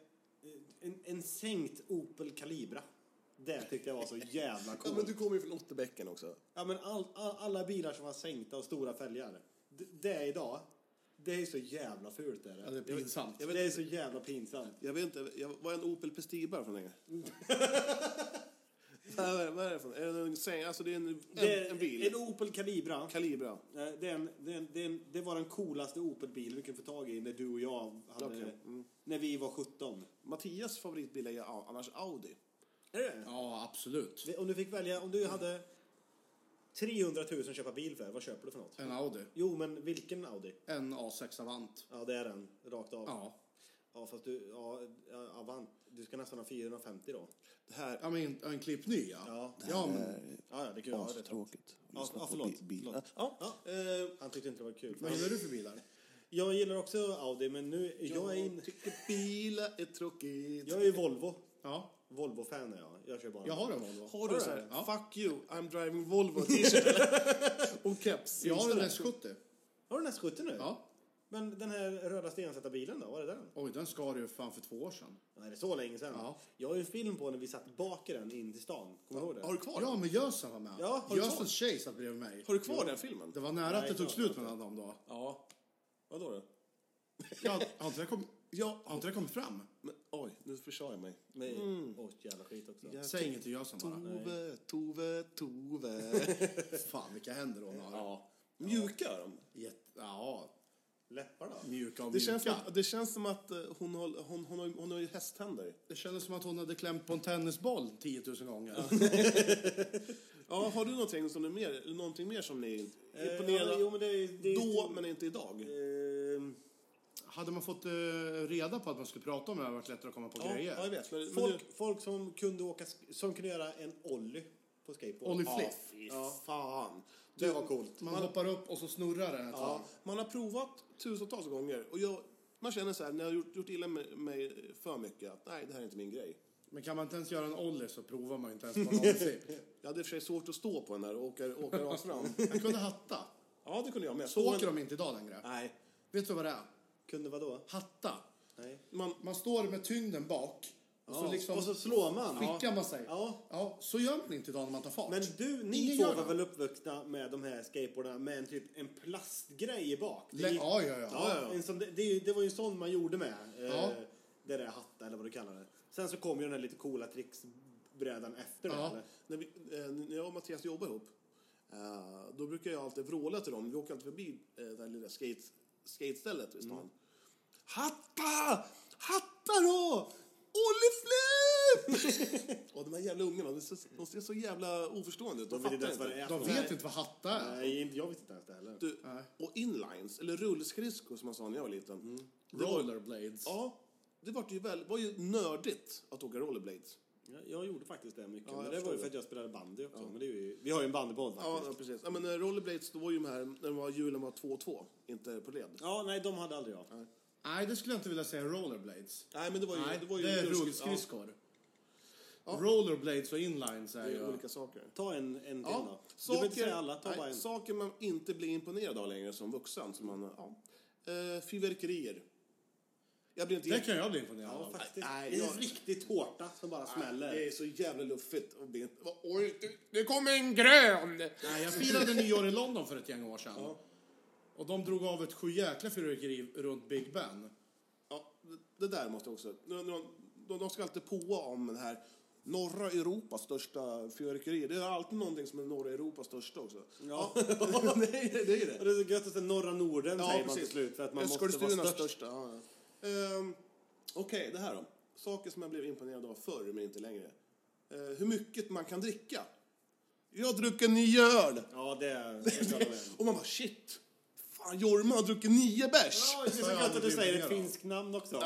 Speaker 4: en, en sänkt Opel Calibra. Det tyckte jag var så jävla
Speaker 6: Ja, men
Speaker 4: coolt.
Speaker 6: du kommer ju från Otterbäcken också.
Speaker 4: Ja, men all, all, alla bilar som var sänkta och stora fälgar. Det, det är idag. Det är så jävla fult. Är det.
Speaker 1: Ja, det är pinsamt.
Speaker 4: Jag vet, det är så jävla pinsamt.
Speaker 6: Jag vet inte, jag var en Opel Prestige bara från länge. Nej, (laughs) vad är- vad är det för Är det en säng? Alltså det är en, en,
Speaker 4: Det är
Speaker 6: en bil.
Speaker 4: En Opel Calibra.
Speaker 6: Calibra.
Speaker 4: Eh, Det, är en, det, är en, det, är en, det var den coolaste Opel-bilen vi kunde få tag i när du och jag hade...
Speaker 6: Okej, mm.
Speaker 4: När vi var 17.
Speaker 6: Mattias favoritbil är ju a- annars Audi.
Speaker 4: Är det?
Speaker 1: Ja, absolut.
Speaker 4: Om du fick välja, om du hade 300 000 att köpa bil för, vad köper du för något?
Speaker 1: En Audi.
Speaker 4: Jo, men vilken Audi?
Speaker 1: En A6 Avant.
Speaker 4: Ja, det är den. Rakt av. Ja,
Speaker 1: Ja,
Speaker 4: fast du... Ja, ja, Avant. Du ska nästan ha 450 då.
Speaker 6: Det här
Speaker 1: ja men en, en klippny ja.
Speaker 4: Ja.
Speaker 1: ja men,
Speaker 4: Ja, ja, det kan jag ha rätt.
Speaker 6: tråkigt.
Speaker 4: Ja, ja, förlåt. förlåt.
Speaker 6: Ja.
Speaker 4: Ja.
Speaker 6: Eh,
Speaker 4: Han tyckte inte det var kul.
Speaker 1: vad gillar du för bilar?
Speaker 4: Jag gillar också Audi, men nu... Jag är, in,
Speaker 6: Jag tycker bilar är tråkigt.
Speaker 4: jag är ju Volvo.
Speaker 1: Ja,
Speaker 4: Volvo-fan är jag. Jag kör bara...
Speaker 1: jag har en Volvo.
Speaker 6: Har du så här,
Speaker 1: Ja.
Speaker 6: fuck you, I'm driving Volvo t-shirt
Speaker 1: (laughs)
Speaker 6: och keps?
Speaker 1: Jag har en S70.
Speaker 4: Har du en S70 nu?
Speaker 1: Ja.
Speaker 4: Men den här röda stensätta bilen då, var är den?
Speaker 1: Oj, den skar ju fan för två år sedan.
Speaker 4: Nej, det är så länge sedan.
Speaker 1: Ja.
Speaker 4: Jag har ju en film på när vi satt bak i den in till stan. Kommer du ihåg det?
Speaker 6: Har du kvar den?
Speaker 1: Ja, men Jösen var med.
Speaker 4: Ja, har du kvar?
Speaker 1: Jösens tjej satt bredvid mig.
Speaker 6: Har du kvar den filmen?
Speaker 1: Det var nära att
Speaker 4: Nej,
Speaker 1: det tog
Speaker 4: klart
Speaker 1: slut
Speaker 4: inte.
Speaker 1: mellan dem då.
Speaker 6: Ja. Vadå då?
Speaker 1: Ja, har inte det kom-
Speaker 6: Ja.
Speaker 1: har inte det kommit fram?
Speaker 6: Men, oj, nu försade jag mig.
Speaker 4: Nej.
Speaker 6: Mm.
Speaker 4: Åh, jävla skit också.
Speaker 1: Säg inget till Jösen bara.
Speaker 4: eh,
Speaker 6: Tove, Tove, Tove.
Speaker 4: (laughs)
Speaker 1: Fan, vilka händer hon har.
Speaker 6: ja. Mjuka är de.
Speaker 1: Jätte- ja,
Speaker 4: Läppar då?
Speaker 1: mjuka och
Speaker 6: Det känns, som,
Speaker 1: mjuka.
Speaker 6: att- det känns som att eh, hon, har- hon, hon, har, hon har ju hästhänder.
Speaker 1: Det kändes som att hon hade klämt på en tennisboll 10 000 gånger.
Speaker 6: Ja, har du någonting, som är mer, någonting mer som ni är
Speaker 4: Eh,
Speaker 6: imponerade
Speaker 4: ja, jo, men det är, det är
Speaker 6: då, men inte idag?
Speaker 4: Ehm,
Speaker 1: Hade man fått eh, reda på att man skulle prata om det hade det varit lättare att komma på
Speaker 6: Ja,
Speaker 1: grejer.
Speaker 6: ja, jag vet. Men, men
Speaker 4: folk,
Speaker 6: du-
Speaker 4: folk som kunde åka, sk- som kunde göra en ollie på skateboard.
Speaker 1: Ollie
Speaker 6: Ja,
Speaker 1: flip.
Speaker 6: fy fan.
Speaker 4: Det var coolt.
Speaker 1: Man hoppar upp och så snurrar den ett tag.
Speaker 6: Ja, man har provat tusentals gånger och jag, man känner så här, när jag har gjort, gjort illa mig- mig för mycket, att nej, det här är inte min grej.
Speaker 1: Men kan man inte ens göra en ollie så provar man ju inte ens på en
Speaker 6: (laughs)
Speaker 1: ollie
Speaker 6: Jag hade i och för sig svårt att stå på den där och åka, åka
Speaker 4: (laughs)
Speaker 6: rakt fram.
Speaker 1: Jag kunde hatta.
Speaker 6: Ja, det kunde jag med.
Speaker 1: Så
Speaker 6: Stå
Speaker 1: åker
Speaker 6: en,
Speaker 1: de inte idag längre.
Speaker 6: nej,
Speaker 1: Vet du vad det är?
Speaker 4: Kunde vadå?
Speaker 1: Hatta.
Speaker 4: Nej.
Speaker 6: man,
Speaker 1: Man står med tyngden bak och så liksom
Speaker 4: och så slår man.
Speaker 1: skickar man sig.
Speaker 4: Ja.
Speaker 1: Ja, så gör man inte idag när man tar fart.
Speaker 4: Men du, ni
Speaker 1: Ingen
Speaker 4: två
Speaker 1: gör
Speaker 4: var
Speaker 1: det.
Speaker 4: väl uppvuxna med de här skateboardarna med en typ en plastgrej i bak? Det
Speaker 1: Le-
Speaker 4: gick-
Speaker 1: ja, ja, ja.
Speaker 6: ja.
Speaker 4: En sån, det, det, är ju- det var ju en sån man gjorde med. Eh,
Speaker 1: Ja.
Speaker 4: Det där hatta eller vad du kallar det. Sen så kom ju den här lite coola tricksbrädan efter det.
Speaker 1: Ja.
Speaker 4: Eller?
Speaker 6: när, vi, eh, när jag och Mattias jobbar ihop, eh, då brukar jag alltid vråla till dem. Vi åker alltid förbi eh, det här lilla skate, skatestället i stan.
Speaker 4: Mm.
Speaker 6: Hatta! Hatta då! Olleflip! (laughs) och de här jävla ungarna, de ser, de ser så jävla oförstående ut. De,
Speaker 4: De vet inte
Speaker 6: fattar
Speaker 4: ens vad det
Speaker 6: inte.
Speaker 4: är.
Speaker 1: De
Speaker 4: för
Speaker 1: vet
Speaker 4: något.
Speaker 1: inte vad hatta är.
Speaker 4: Nej, inte- jag vet inte ens det heller.
Speaker 6: Du, och inlines, eller rullskridskor som man sa när jag var liten.
Speaker 4: Mm.
Speaker 6: Det var-
Speaker 1: Rollerblades.
Speaker 6: Ja, det var ju, väl, var ju nördigt att åka rollerblades.
Speaker 4: Jag, jag gjorde faktiskt det mycket.
Speaker 6: Ja,
Speaker 4: men
Speaker 6: jag
Speaker 4: det var
Speaker 6: förstår
Speaker 4: ju för
Speaker 6: det.
Speaker 4: att jag spelade bandy också. Men det är ju, vi har ju en bandyboll
Speaker 6: Ja,
Speaker 4: faktiskt.
Speaker 6: ja
Speaker 4: Ja.
Speaker 6: precis. Ja, men eh, rollerblades, då var ju de här, när de var, hjulen var 2-2, inte på led.
Speaker 4: nej, de hade aldrig jag.
Speaker 1: Nej, det skulle jag inte vilja säga rollerblades.
Speaker 6: Nej, men det var ju...
Speaker 1: Nej,
Speaker 6: det, var ju
Speaker 1: är
Speaker 6: rullskri-
Speaker 1: rullskridskor. Rollerblades och inlines
Speaker 6: Ja,
Speaker 1: är
Speaker 6: det är
Speaker 1: ju...
Speaker 6: olika saker.
Speaker 4: Ta en, en till
Speaker 6: Ja,
Speaker 4: då. Du behöver inte säga alla, ta
Speaker 6: nej,
Speaker 4: bara en.
Speaker 6: saker man inte blir imponerad av längre som vuxen. Som man, ja. eh, fyrverkerier. Jag blir inte...
Speaker 1: Det kan jag bli imponerad
Speaker 4: Ja,
Speaker 1: av.
Speaker 4: faktiskt.
Speaker 6: nej,
Speaker 4: det är
Speaker 6: jag-
Speaker 4: en riktig tårta som bara smäller.
Speaker 6: Det är så jävla luffigt. Och blir inte, vad- oj, det-
Speaker 1: Nej, jag firade nyår i London för ett gäng år sedan. Och de drog av ett sjujäkla fyrverkeri runt Big Ben.
Speaker 6: Ja, det- det där måste jag också... nu- nu- De, de ska alltid påa om den här norra Europas största fyrverkeri. Det är alltid någonting som är norra Europas största också.
Speaker 4: Ja.
Speaker 6: Nej, (laughs) det är det.
Speaker 4: Och det är så gött att säga norra Norden
Speaker 6: Ja,
Speaker 4: säger man till
Speaker 6: precis.
Speaker 4: slut för att man måste vara
Speaker 6: Eskilstunas
Speaker 4: störst.
Speaker 6: största. Ja, ja. Ehm, Okej, det här då. Saker som jag blev imponerad av förr, men inte längre. Eh, hur mycket man kan dricka. Jag har druckit nio öl!
Speaker 4: Ja, det är... det är klart det är.
Speaker 6: Och man bara, shit! Fan, Jorma har druckit nio
Speaker 4: (laughs)
Speaker 6: bärs!
Speaker 4: Ja, det är så gött att du säger ett finskt namn (laughs) också.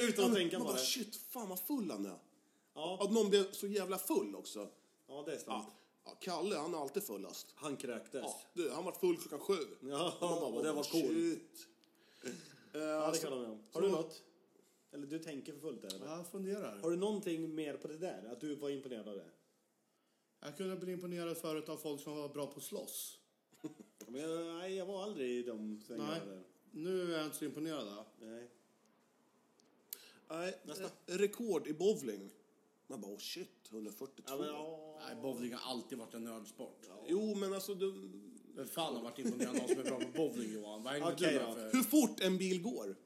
Speaker 4: Utan att tänka
Speaker 6: man
Speaker 4: på
Speaker 6: bara,
Speaker 4: det.
Speaker 6: shit, fan vad full han är.
Speaker 4: Ja,
Speaker 6: Att någon blev så jävla full också.
Speaker 4: ja det är sant.
Speaker 6: Ja. Ja, Kalle, han är alltid fullast.
Speaker 4: Han kräktes.
Speaker 6: Ja, du, han var full klockan sju.
Speaker 4: Ja,
Speaker 6: Och man
Speaker 4: och det var coolt.
Speaker 6: "Shit." Eh,
Speaker 4: Ja, det
Speaker 6: alltså,
Speaker 4: kan jag med om.
Speaker 1: Har du något?
Speaker 4: Eller du tänker för fullt där, eller?
Speaker 1: Jag funderar.
Speaker 4: Har du någonting mer på det där? Att du var imponerad av det?
Speaker 1: Jag kunde bli imponerad förut av folk som var bra på att slåss.
Speaker 4: Men jag, nej, jag var aldrig i de svängarna
Speaker 1: Nej.
Speaker 4: där.
Speaker 1: Nu är jag inte så imponerad. va?
Speaker 4: Nej.
Speaker 6: nej, eh, rekord i bowling. Man bara, oh shit, 142.
Speaker 4: Ja, men, ja.
Speaker 1: Nej, bowling har alltid varit en nördsport.
Speaker 6: Jo, men alltså, du,
Speaker 1: Vem fan har varit imponerad av någon som är bra på bowling, Johan? Vad hängde
Speaker 4: Okej
Speaker 1: du
Speaker 4: då.
Speaker 1: med för?
Speaker 6: hur fort en bil går.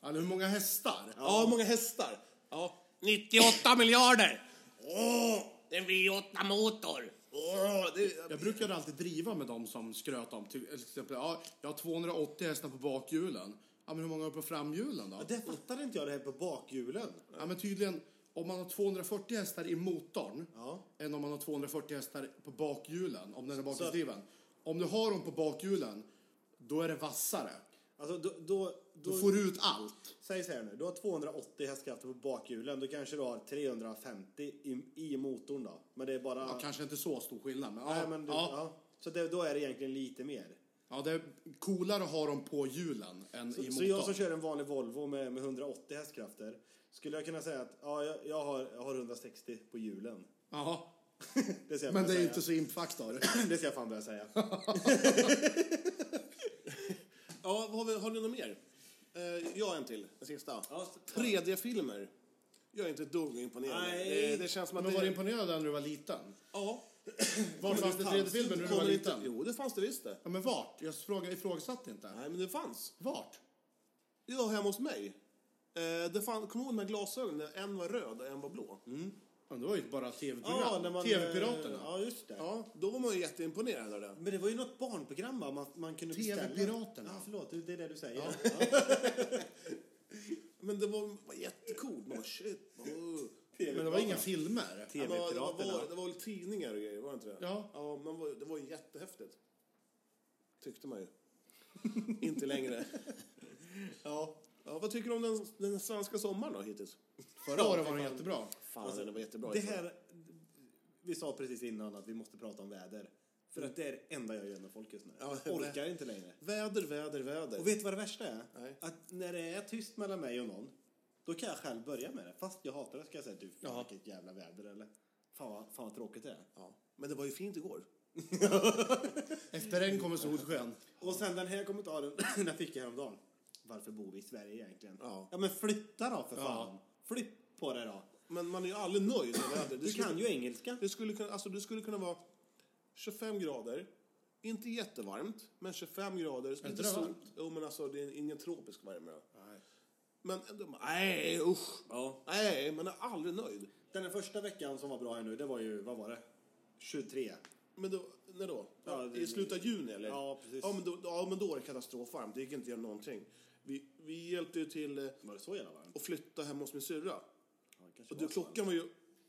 Speaker 1: Alltså, hur många hästar?
Speaker 6: Ja, hur många hästar? Ja, 98 miljarder. Åh,
Speaker 7: En V8-motor.
Speaker 6: åh, det,
Speaker 1: Jag brukade alltid driva med dem som skröt om till exempel, ja, jag har 280 hästar på bakhjulen. Ja, men hur många har du på framhjulen då?
Speaker 4: Det fattade inte jag, det här på bakhjulen.
Speaker 1: Ja, men tydligen, om man har 240 hästar i motorn
Speaker 4: Ja.
Speaker 1: än om man har 240 hästar på bakhjulen, om den är bakhjulsdriven. Om du har dem på bakhjulen, då är det vassare.
Speaker 4: Alltså, då, då,
Speaker 1: Då
Speaker 4: då,
Speaker 1: får du ut allt.
Speaker 4: Säg så här nu, du har 280 hästkrafter på bakhjulen. Då kanske du har 350 i, i motorn då. Men det är bara...
Speaker 1: Ja, kanske inte så stor skillnad, men,
Speaker 4: nej,
Speaker 1: ja,
Speaker 4: men du, ja.
Speaker 1: ja.
Speaker 4: Så det, då är det egentligen lite mer.
Speaker 1: Ja, det är coolare att ha dem på hjulen än i
Speaker 4: Så,
Speaker 1: motorn.
Speaker 4: så jag som kör en vanlig Volvo med, med 180 hästkrafter. Skulle jag kunna säga att ja, jag, jag, har, jag har 160 på hjulen.
Speaker 1: Jaha.
Speaker 4: Det ska jag
Speaker 1: Men
Speaker 4: börja
Speaker 1: det är ju
Speaker 4: säga.
Speaker 1: inte så impfaktor.
Speaker 4: (clears throat) Det ska jag fan börja säga.
Speaker 6: ja, vad har, vi, har ni något mer? Eh, jag har en till, den sista.
Speaker 4: Ja, s-
Speaker 6: 3D-filmer. Jag är inte ett dugg imponerad.
Speaker 4: Nej.
Speaker 6: Eh, Det känns som att
Speaker 1: Men
Speaker 6: det...
Speaker 1: var du imponerad när du var liten?
Speaker 6: Ja.
Speaker 1: Var fanns det 3D-filmer när du var
Speaker 6: Kommer inte-
Speaker 1: liten?
Speaker 6: Jo, det fanns det visst det.
Speaker 1: Ja, men vart? Jag fråga, ifrågasatte inte.
Speaker 6: Nej, men det fanns.
Speaker 1: Vart?
Speaker 6: Det var hemma hos mig. Eh, det fann, kom du ihåg de här glasögonen? där En var röd och en var blå.
Speaker 1: Ja, det var ju bara ett tv-program.
Speaker 4: Ja, när man,
Speaker 1: TV-piraterna.
Speaker 4: eh, Ja, just det.
Speaker 6: Ja, då var man ju jätteimponerad av det.
Speaker 4: Men det var ju något barnprogram va? Man, man kunde beställa.
Speaker 1: TV-piraterna.
Speaker 4: Ja, förlåt, det är det du säger. Ja.
Speaker 6: Men det var, var jättecoolt. Man bara, shit. vad-
Speaker 1: Men det var inga filmer.
Speaker 6: Ja, men det, var, det,
Speaker 4: TV-piraterna.
Speaker 6: var, det var väl tidningar och grejer, var det inte det?
Speaker 1: Ja.
Speaker 6: ja men var, det var ju jättehäftigt. Tyckte man ju. (laughs) inte längre. ja. ja. Vad tycker du om den, den svenska sommaren då hittills?
Speaker 1: Förra året var de jättebra.
Speaker 6: Fan, den var jättebra.
Speaker 4: Det här, vi sa precis innan att vi måste prata om väder. För att det är det enda jag gör med folk just nu.
Speaker 6: Ja,
Speaker 4: jag orkar inte längre.
Speaker 6: Väder, väder, väder.
Speaker 4: Och vet du vad det värsta är?
Speaker 6: Nej.
Speaker 4: Att när det är tyst mellan mig och någon, då kan jag själv börja med det. Fast jag hatar det ska jag säga du, fan vilket jävla väder eller? Fan vad, fan vad tråkigt det är.
Speaker 6: Ja. Men det var ju fint igår.
Speaker 1: Efter regn kommer solsken.
Speaker 4: Och sen den här kommentaren, (laughs) den fick jag häromdagen. Varför bor vi i Sverige egentligen?
Speaker 6: Ja.
Speaker 4: men flytta då för fan. Flytt på det då.
Speaker 6: Men man är ju aldrig nöjd med väder.
Speaker 4: Du kan ju engelska.
Speaker 6: Det skulle, kunna, alltså, det skulle kunna vara 25 grader. Inte jättevarmt, men 25 grader. Är
Speaker 1: inte det varmt?
Speaker 6: Jo, men alltså det är ingen tropisk värme. Nej. Men ändå, nej usch.
Speaker 4: Ja.
Speaker 6: Nej, man är aldrig nöjd.
Speaker 4: Den här första veckan som var bra här nu, det var ju, vad var det? 23.
Speaker 6: Men då, när då?
Speaker 4: Ja, det-
Speaker 6: I slutet av juni eller?
Speaker 4: Ja, precis.
Speaker 6: Ja men, då, ja, men då var det katastrofvarmt. Det gick inte att göra någonting. Vi, vi hjälpte ju till eh,
Speaker 4: Var det så jävla varmt?
Speaker 6: att flytta hemma hos min syrra.
Speaker 4: Ja, kanske
Speaker 6: Och du,
Speaker 4: var så varmt.
Speaker 6: klockan var ju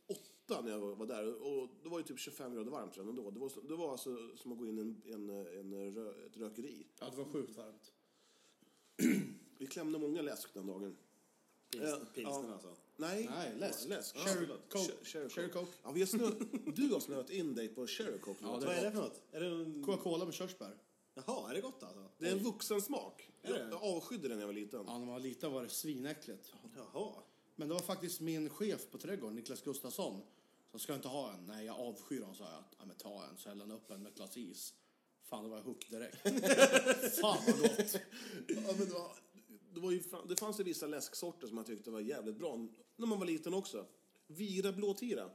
Speaker 6: åtta när jag var där och det var ju typ 25 grader varmt redan då. Det var, så- det var alltså som att gå in i en, en, en rö, ett rökeri.
Speaker 1: Ja, det var sjukt varmt.
Speaker 6: Vi klämde många läsk den dagen.
Speaker 4: Pilsner,
Speaker 6: Ja,
Speaker 4: pilsner
Speaker 6: ja.
Speaker 4: alltså.
Speaker 6: Nej,
Speaker 1: Nej, läsk.
Speaker 6: läsk.
Speaker 1: Cherry
Speaker 6: Ja, förlåt.
Speaker 1: Coke.
Speaker 6: Che- Cherry
Speaker 1: Cherry
Speaker 6: Coke.
Speaker 1: Coke.
Speaker 6: Ja, vi har snö... (laughs) Du har snöat in dig på Cherry Coke.
Speaker 1: Ja,
Speaker 4: Vad är det för något? Är det en...
Speaker 1: Coca-Cola med körsbär.
Speaker 4: Jaha, är det gott alltså?
Speaker 6: Det är en vuxen smak.
Speaker 4: Är det?
Speaker 6: Jag avskydde den när jag var liten.
Speaker 1: Ja, när man var liten var det svinäckligt.
Speaker 4: Jaha.
Speaker 1: Men det var faktiskt min chef på trädgården, Niklas Gustafsson, som ska jag inte ha en. Nej, jag avskyr honom, sa jag. Ja, men ta en. Så hällde han upp en med ett glas is. Fan, då var jag hooked direkt. Fan vad gott.
Speaker 6: Ja, men det, var, det, var ju, fan- det fanns ju vissa läsksorter som jag tyckte var jävligt bra när man var liten också. Vira blåtira.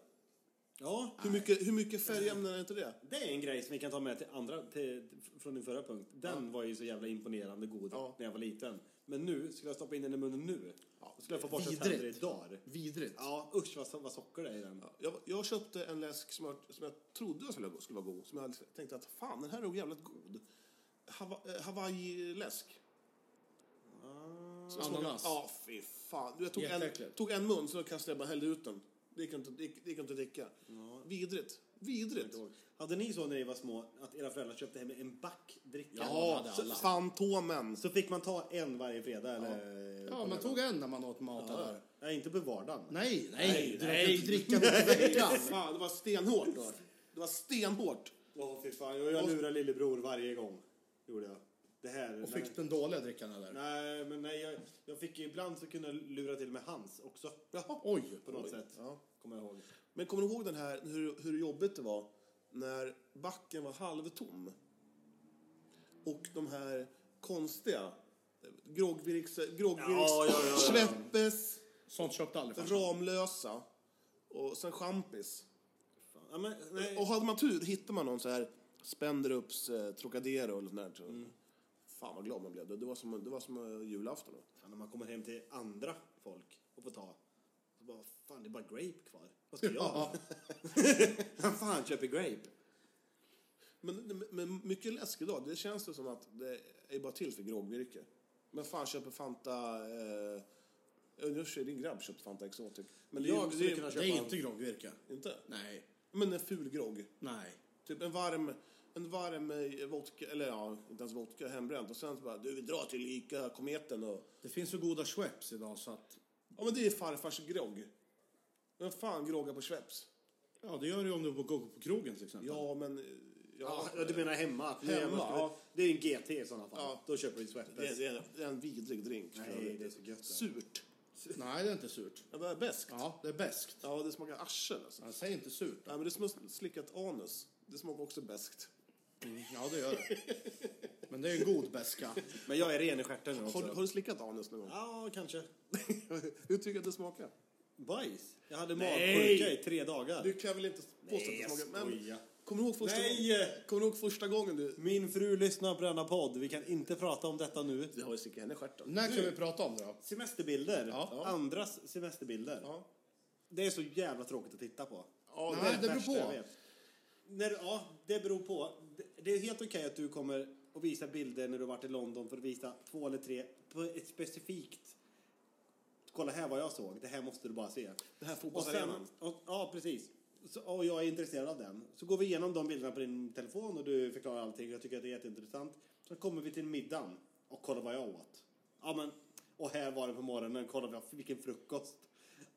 Speaker 4: Ja,
Speaker 6: Hur mycket, hur mycket färgämnen är inte det?
Speaker 4: det är en grej som vi kan ta med till andra, till, från din förra punkt. Den var ju så jävla imponerande god
Speaker 6: Ja.
Speaker 4: när jag var liten. Men nu, skulle jag stoppa in den i munnen nu, då skulle jag få borsta
Speaker 1: vidrigt.
Speaker 4: tänder i dagar.
Speaker 1: Vidrigt.
Speaker 4: Ja, usch vad, so- vad socker det är i den.
Speaker 6: Jag, jag köpte en läsk som jag, som jag trodde skulle, skulle vara god. Som jag tänkte att fan, den här är ju jävligt god. Hava, eh, Hawaii-läsk.
Speaker 4: Ah.
Speaker 6: Så jag smakade-
Speaker 1: Ananas.
Speaker 6: Ja, fy fan. Du, Jag tog en,
Speaker 1: Jätteäckligt.
Speaker 6: tog en mun, så kastade jag bara hällde ut den. Det gick inte, det gick, det gick inte att dricka. Vidrigt. Vidrigt.
Speaker 4: Hade ni så när ni var små, att era föräldrar köpte hem en back dricka?
Speaker 1: Ja, det
Speaker 6: Så- Fantomen.
Speaker 4: Så fick man ta en varje fredag eller?
Speaker 1: Ja, man tog en när man åt mat där.
Speaker 4: Ja, inte på vardagen.
Speaker 1: Nej, nej, du kan inte dricka mitt i veckan.
Speaker 6: Fan, det var stenhårt då. Det var stenhårt.
Speaker 4: Ja, fy fan. Jag, jag lurar lillebror varje gång. Gjorde jag. Det här...
Speaker 1: Och fick den dåliga drickan eller?
Speaker 4: Nej, men nej, jag, jag fick ju ibland så kunde jag lura till med hans också.
Speaker 6: Jaha.
Speaker 1: Oj!
Speaker 4: På något
Speaker 6: Oj.
Speaker 4: sätt.
Speaker 6: Ja.
Speaker 4: Kommer jag ihåg.
Speaker 6: Men kommer du ihåg den här, hur, hur jobbigt det var när backen var halvtom? Och de här konstiga, groggvirks, groggvirks
Speaker 4: Ja, ja, ja, ja.
Speaker 6: Sveppes,
Speaker 1: Sånt köpte aldrig farsan.
Speaker 6: Ramlösa och sen Champis.
Speaker 4: Fan. Ja, men, nej.
Speaker 6: Och hade man tur hittade man någon så här Spenderups eh, Trocadero eller sånt där.
Speaker 4: Mm.
Speaker 6: Fan vad glad man blev. Det, det var som, det var som eh, julafton. Då.
Speaker 4: Fan, när man kommer hem till andra folk och får ta. Så bara, fan det är bara grape kvar. Vad ska jag (laughs) ha? Vem fan köper grape?
Speaker 6: Men, men- men mycket läsk idag. Det känns det som att det är bara till för groggvirke. Men fan köper Fanta... Eh, jag och din grabb köpt Fanta Exotic. Men
Speaker 4: det
Speaker 6: jag,
Speaker 4: skulle
Speaker 6: det,
Speaker 4: kunna
Speaker 1: Det är inte groggvirke.
Speaker 6: Inte?
Speaker 1: Nej.
Speaker 6: Men en ful grogg.
Speaker 1: Nej.
Speaker 6: Typ en varm, en varm eh, vodka, eller ja, inte ens vodka, hembränt. Och sen så bara, du vi drar till Ica Kometen och...
Speaker 1: Det finns så goda Schweppes idag så att...
Speaker 6: Ja men det är farfars grogg. Men fan groggar på Schweppes?
Speaker 1: Ja, det gör det ju om du går på krogen till exempel.
Speaker 6: Ja men... eh,
Speaker 4: Ja,
Speaker 6: Ja,
Speaker 4: du menar hemma? För det är-
Speaker 6: Hemma, ja.
Speaker 4: Det är en GT i sådana fall.
Speaker 6: Ja.
Speaker 4: Då köper vi
Speaker 6: det,
Speaker 4: Sweppes.
Speaker 6: är- det, är, det är en vidrig drink.
Speaker 4: Nej, det är så gött. det.
Speaker 6: Surt.
Speaker 1: Nej, det är inte surt.
Speaker 6: Ja, det är beskt.
Speaker 1: Ja, det är beskt.
Speaker 6: Ja, det smakar arsel alltså.
Speaker 1: Ja, Säg inte surt.
Speaker 6: Nej, men det smakar slickat anus. Det smakar också beskt.
Speaker 1: Ja, det gör det. Men det är en god beska.
Speaker 4: Men jag är ren i stjärten nu
Speaker 6: Har, du-
Speaker 4: också.
Speaker 6: har du slickat anus någon gång?
Speaker 4: Ja, kanske.
Speaker 6: (laughs) Hur tycker du att det smakar?
Speaker 4: Bajs? Jag hade
Speaker 6: Nej!
Speaker 4: magsjuka i tre dagar.
Speaker 6: Du kan väl inte påstå att det
Speaker 4: jag
Speaker 6: smakar...
Speaker 4: skojar.
Speaker 6: kommer du ihåg första
Speaker 4: Nej!
Speaker 6: gången? Kommer du ihåg första gången du...
Speaker 4: Min fru lyssnar på denna podd. Vi kan inte prata om detta nu.
Speaker 6: Du har ju slickat henne i stjärten.
Speaker 1: När kan vi prata om det då?
Speaker 4: Semesterbilder.
Speaker 1: Ja.
Speaker 4: Andras semesterbilder.
Speaker 6: Ja.
Speaker 4: Det är så jävla tråkigt att titta på.
Speaker 6: Ja,
Speaker 1: Nej, det beror
Speaker 4: värsta jag
Speaker 1: på.
Speaker 4: vet. När, ja, det beror på. Det, det är helt okej att du kommer och visa bilder när du har varit i London för att visa två eller tre på ett specifikt. Kolla här vad jag såg. Det här måste du bara se.
Speaker 6: Den här
Speaker 4: Och sen,
Speaker 6: fotbollsarenan.
Speaker 4: och, ja, precis. Så, och jag är intresserad av den. Så går vi igenom de bilderna på din telefon och du förklarar allting. Jag tycker att det är jätteintressant. Så kommer vi till middagen och kolla vad jag åt. Ja, men, och här var det på morgonen. Kolla vad- vilken frukost.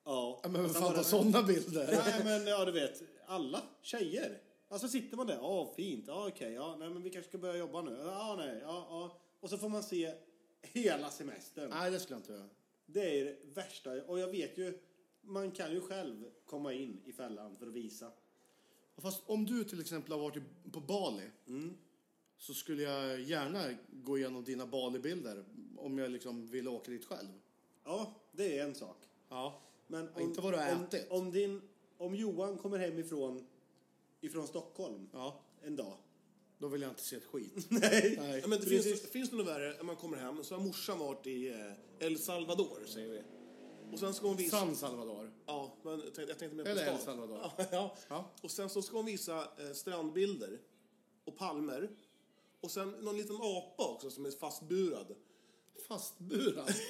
Speaker 4: Ja,
Speaker 1: Ja, men vem
Speaker 4: Sen
Speaker 1: fan
Speaker 4: var
Speaker 1: tar
Speaker 4: det-
Speaker 1: sådana bilder?
Speaker 4: Nej, men ja, du vet. Alla tjejer. Alltså sitter man där. Ja, fint. Ja, okej. Ja, nej, men vi kanske ska börja jobba nu. Ja, nej. Ja, ja. Och så får man se hela semestern.
Speaker 1: Nej, det skulle jag inte göra.
Speaker 4: Det är det värsta. Och jag vet ju, man kan ju själv komma in i fällan för att visa.
Speaker 1: Fast om du till exempel har varit i- på Bali så skulle jag gärna gå igenom dina Bali-bilder om jag liksom ville åka dit själv.
Speaker 4: Ja, det är en sak.
Speaker 1: Ja.
Speaker 4: Men
Speaker 1: Ja, inte vad du har
Speaker 4: om,
Speaker 1: ätit.
Speaker 4: Om, din, om Johan kommer hem ifrån, ifrån Stockholm
Speaker 1: Ja,
Speaker 4: en dag.
Speaker 1: då vill jag inte se ett skit.
Speaker 4: (laughs) Nej.
Speaker 1: Nej.
Speaker 6: Ja, men det
Speaker 4: Precis.
Speaker 6: finns, finns det något värre när man kommer hem så har morsan varit i eh, El Salvador, säger vi. Och sen ska hon visa...
Speaker 1: San Salvador.
Speaker 6: Ja, men jag tänkte, jag tänkte mer på
Speaker 1: Eller
Speaker 6: stan.
Speaker 1: El Salvador.
Speaker 6: Ja, (laughs) ja.
Speaker 1: Ja.
Speaker 6: Och sen så ska hon visa eh, strandbilder och palmer. Och sen någon liten apa också som är fastburad.
Speaker 1: Fastburad.
Speaker 6: (laughs)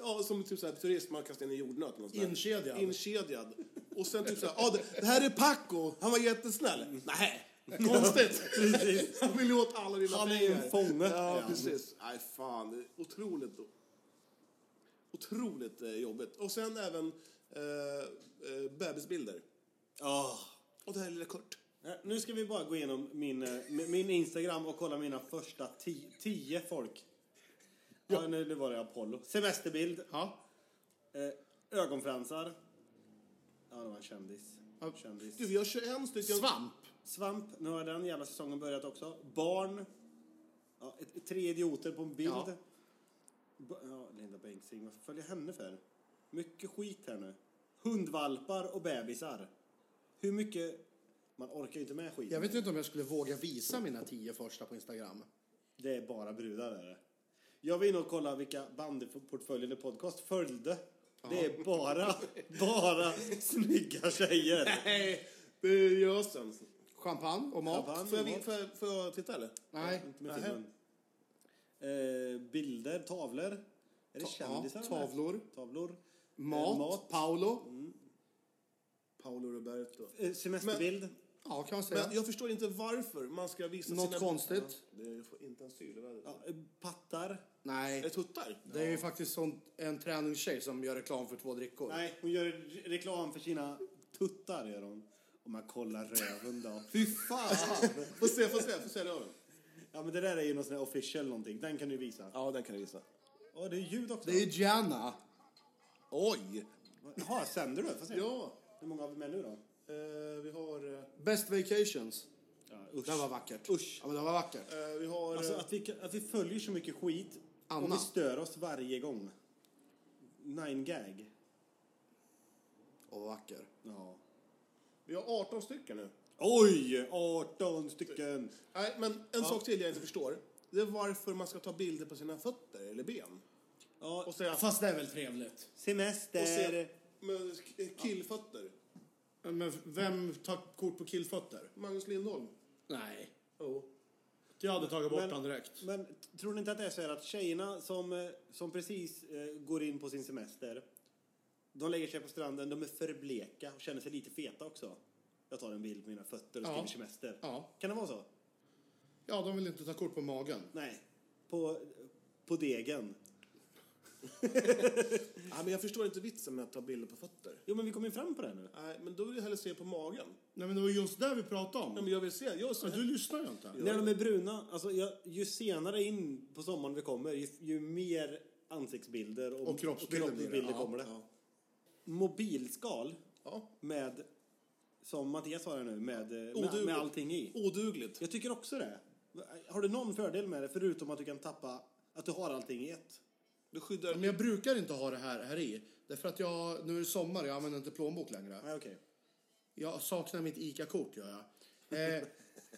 Speaker 6: Ja, som typ såhär turist, man kastar in en jordnöt eller något sånt där.
Speaker 1: Inkedjad.
Speaker 6: Inkedjad. Och sen typ såhär, ja det, det här är Paco, han var jättesnäll. Nej, (laughs) konstigt. han vill ju åt alla dina
Speaker 4: Han är ju
Speaker 6: pengar.
Speaker 4: en fånge.
Speaker 6: Ja,
Speaker 4: Ja.
Speaker 6: precis. Nej, fan. det är Otroligt Otroligt eh, jobbigt. Och sen även eh, eh, bebisbilder.
Speaker 4: Ah.
Speaker 6: Och det här lilla Kurt.
Speaker 4: Eh, Nu ska vi bara gå igenom min, eh, min min Instagram och kolla mina första ti, tio folk. Ja, nu nu var det Apollo. Semesterbild.
Speaker 1: Ja.
Speaker 4: Eh, ögonfransar. Ja, det var en kändis.
Speaker 1: Ja.
Speaker 4: kändis.
Speaker 6: Du, vi har 21 stycken.
Speaker 1: Svamp.
Speaker 4: Svamp, nu har den jävla säsongen börjat också. Barn. Ja, ett, tre idioter på en bild.
Speaker 1: Ja.
Speaker 4: B- ja, Linda Bengtzing, varför följer jag henne för? Mycket skit här nu. Hundvalpar och bebisar. Hur mycket... Man orkar ju inte med skit.
Speaker 1: Jag vet inte om jag skulle våga visa mina tio första på Instagram.
Speaker 4: Det är bara brudar är det. Jag var inne och kollade vilka bandyportföljen i podcast följde. Det är bara, bara snygga tjejer.
Speaker 6: Nej, det är jag sen.
Speaker 1: Champagne och mat.
Speaker 4: Champagne.
Speaker 6: Får jag, får, jag, får jag titta eller?
Speaker 1: Nej.
Speaker 4: Inte med filmen. Eh, bilder, tavlor. Är det
Speaker 1: Ta-
Speaker 4: kändisar?
Speaker 1: ja,
Speaker 4: eller?
Speaker 1: tavlor.
Speaker 4: Tavlor.
Speaker 1: Mat.
Speaker 4: Eh, mat.
Speaker 1: Paolo.
Speaker 6: Paolo Roberto.
Speaker 4: Eh, semesterbild.
Speaker 1: Ja, kan man säga.
Speaker 6: Men jag förstår inte varför man ska visa
Speaker 1: Något
Speaker 6: sina...
Speaker 1: konstigt.
Speaker 6: Ja, det får inte ens syreväder.
Speaker 4: Ja, eh, pattar.
Speaker 6: Är det
Speaker 1: Nej.
Speaker 6: tuttar?
Speaker 1: Det är ju faktiskt sån, en träningstjej som gör reklam för två drickor.
Speaker 4: Nej, hon gör re- reklam för sina tuttar. Gör hon. Om man kollar röven då.
Speaker 6: Fy fan! få se, få se, få se röven.
Speaker 4: Ja, men det där är ju någon sån här official någonting. Den kan du visa.
Speaker 6: Ja, den kan du visa.
Speaker 4: Åh, det är ljud också.
Speaker 1: Det är Gianna.
Speaker 6: Oj! Eh,
Speaker 4: Jaha, sänder du? Får se.
Speaker 6: Ja.
Speaker 4: Hur många har vi med nu då?
Speaker 6: Eh, vi har... eh,
Speaker 1: Best Vacations.
Speaker 4: usch.
Speaker 1: Det var vackert.
Speaker 4: Usch.
Speaker 1: Ja, men det var vackert.
Speaker 6: eh, vi har...
Speaker 4: Alltså
Speaker 6: eh,
Speaker 4: att vi, att vi följer så mycket skit och
Speaker 1: Anna.
Speaker 4: vi stör oss varje gång. Nine gag.
Speaker 1: Och vacker.
Speaker 4: Ja.
Speaker 6: Vi har 18 stycken nu.
Speaker 4: Oj! 18 stycken.
Speaker 6: Nej, men en sak till jag inte förstår. Det är varför man ska ta bilder på sina fötter eller ben.
Speaker 4: Ja,
Speaker 6: Och säga...
Speaker 1: Fast det är väl trevligt?
Speaker 4: semester.
Speaker 6: Och se, men, k- killfötter.
Speaker 1: Eh, Men vem tar kort på killfötter?
Speaker 6: Magnus Lindholm.
Speaker 1: Nej.
Speaker 6: Jo.
Speaker 1: Jag hade tagit bort
Speaker 4: Men-
Speaker 1: den direkt.
Speaker 4: Men t- tror ni inte att det är så här att tjejerna som, eh, som precis eh, går in på sin semester, de lägger sig på stranden, de är för bleka och känner sig lite feta också. Jag tar en bild på mina fötter och
Speaker 1: Ja.
Speaker 4: skriver semester.
Speaker 1: Ja.
Speaker 4: Kan det vara så?
Speaker 1: Ja, de vill inte ta kort på magen.
Speaker 4: Nej. På, på degen.
Speaker 6: Nej, men jag förstår inte vitsen med att ta bilder på fötter.
Speaker 4: Jo, men vi kom ju fram på det nu.
Speaker 6: Nej, men då vill jag hellre se på magen.
Speaker 1: Nej, men det var just det vi pratade om.
Speaker 6: Nej, men jag vill se. Jag
Speaker 1: Ja, Du lyssnar ju inte.
Speaker 4: När de är bruna, alltså jag, ju senare in på sommaren vi kommer, ju, ju mer ansiktsbilder och,
Speaker 1: Och kroppsbilder blir det.
Speaker 4: kroppsbilder
Speaker 1: Ja,
Speaker 4: kommer det. Mobilskal
Speaker 6: Ja.
Speaker 4: med, som Mattias har här nu, med, med,
Speaker 6: Odugligt.
Speaker 4: med allting i.
Speaker 6: Odugligt.
Speaker 4: Jag tycker också det. Har du någon fördel med det förutom att du kan tappa, att du har allting i ett?
Speaker 6: Du
Speaker 1: Ja,
Speaker 6: skyddar...
Speaker 1: Men jag brukar inte ha det här, här i. Därför att jag, nu är det sommar, jag använder inte plånbok längre.
Speaker 4: Nej, okej.
Speaker 1: Jag saknar mitt ICA-kort, gör jag. Eh,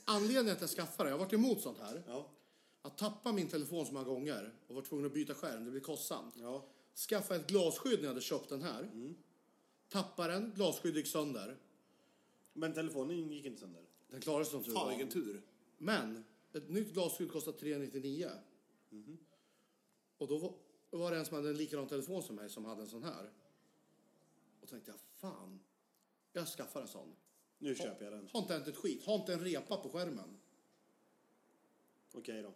Speaker 1: anledningen att jag skaffade det, jag har varit emot sånt här.
Speaker 4: Ja.
Speaker 1: Att tappa min telefon så många gånger och vara tvungen att byta skärm, det blir kostsamt.
Speaker 4: Ja.
Speaker 1: Skaffa ett glasskydd när jag hade köpt den här. Tappar den, glasskydd gick sönder.
Speaker 4: Men telefonen gick inte sönder.
Speaker 1: Den klarade sig som tur
Speaker 6: Fan,
Speaker 1: var.
Speaker 6: vilken tur.
Speaker 1: Men ett nytt glasskydd kostar 399. Mhm. Och då var, var det en som hade en likadan telefon som mig som hade en sån här. Och tänkte jag, fan, jag skaffar en sån.
Speaker 4: Nu köper jag den.
Speaker 1: Har inte hänt ett skit, har inte en repa på skärmen.
Speaker 4: Okej då.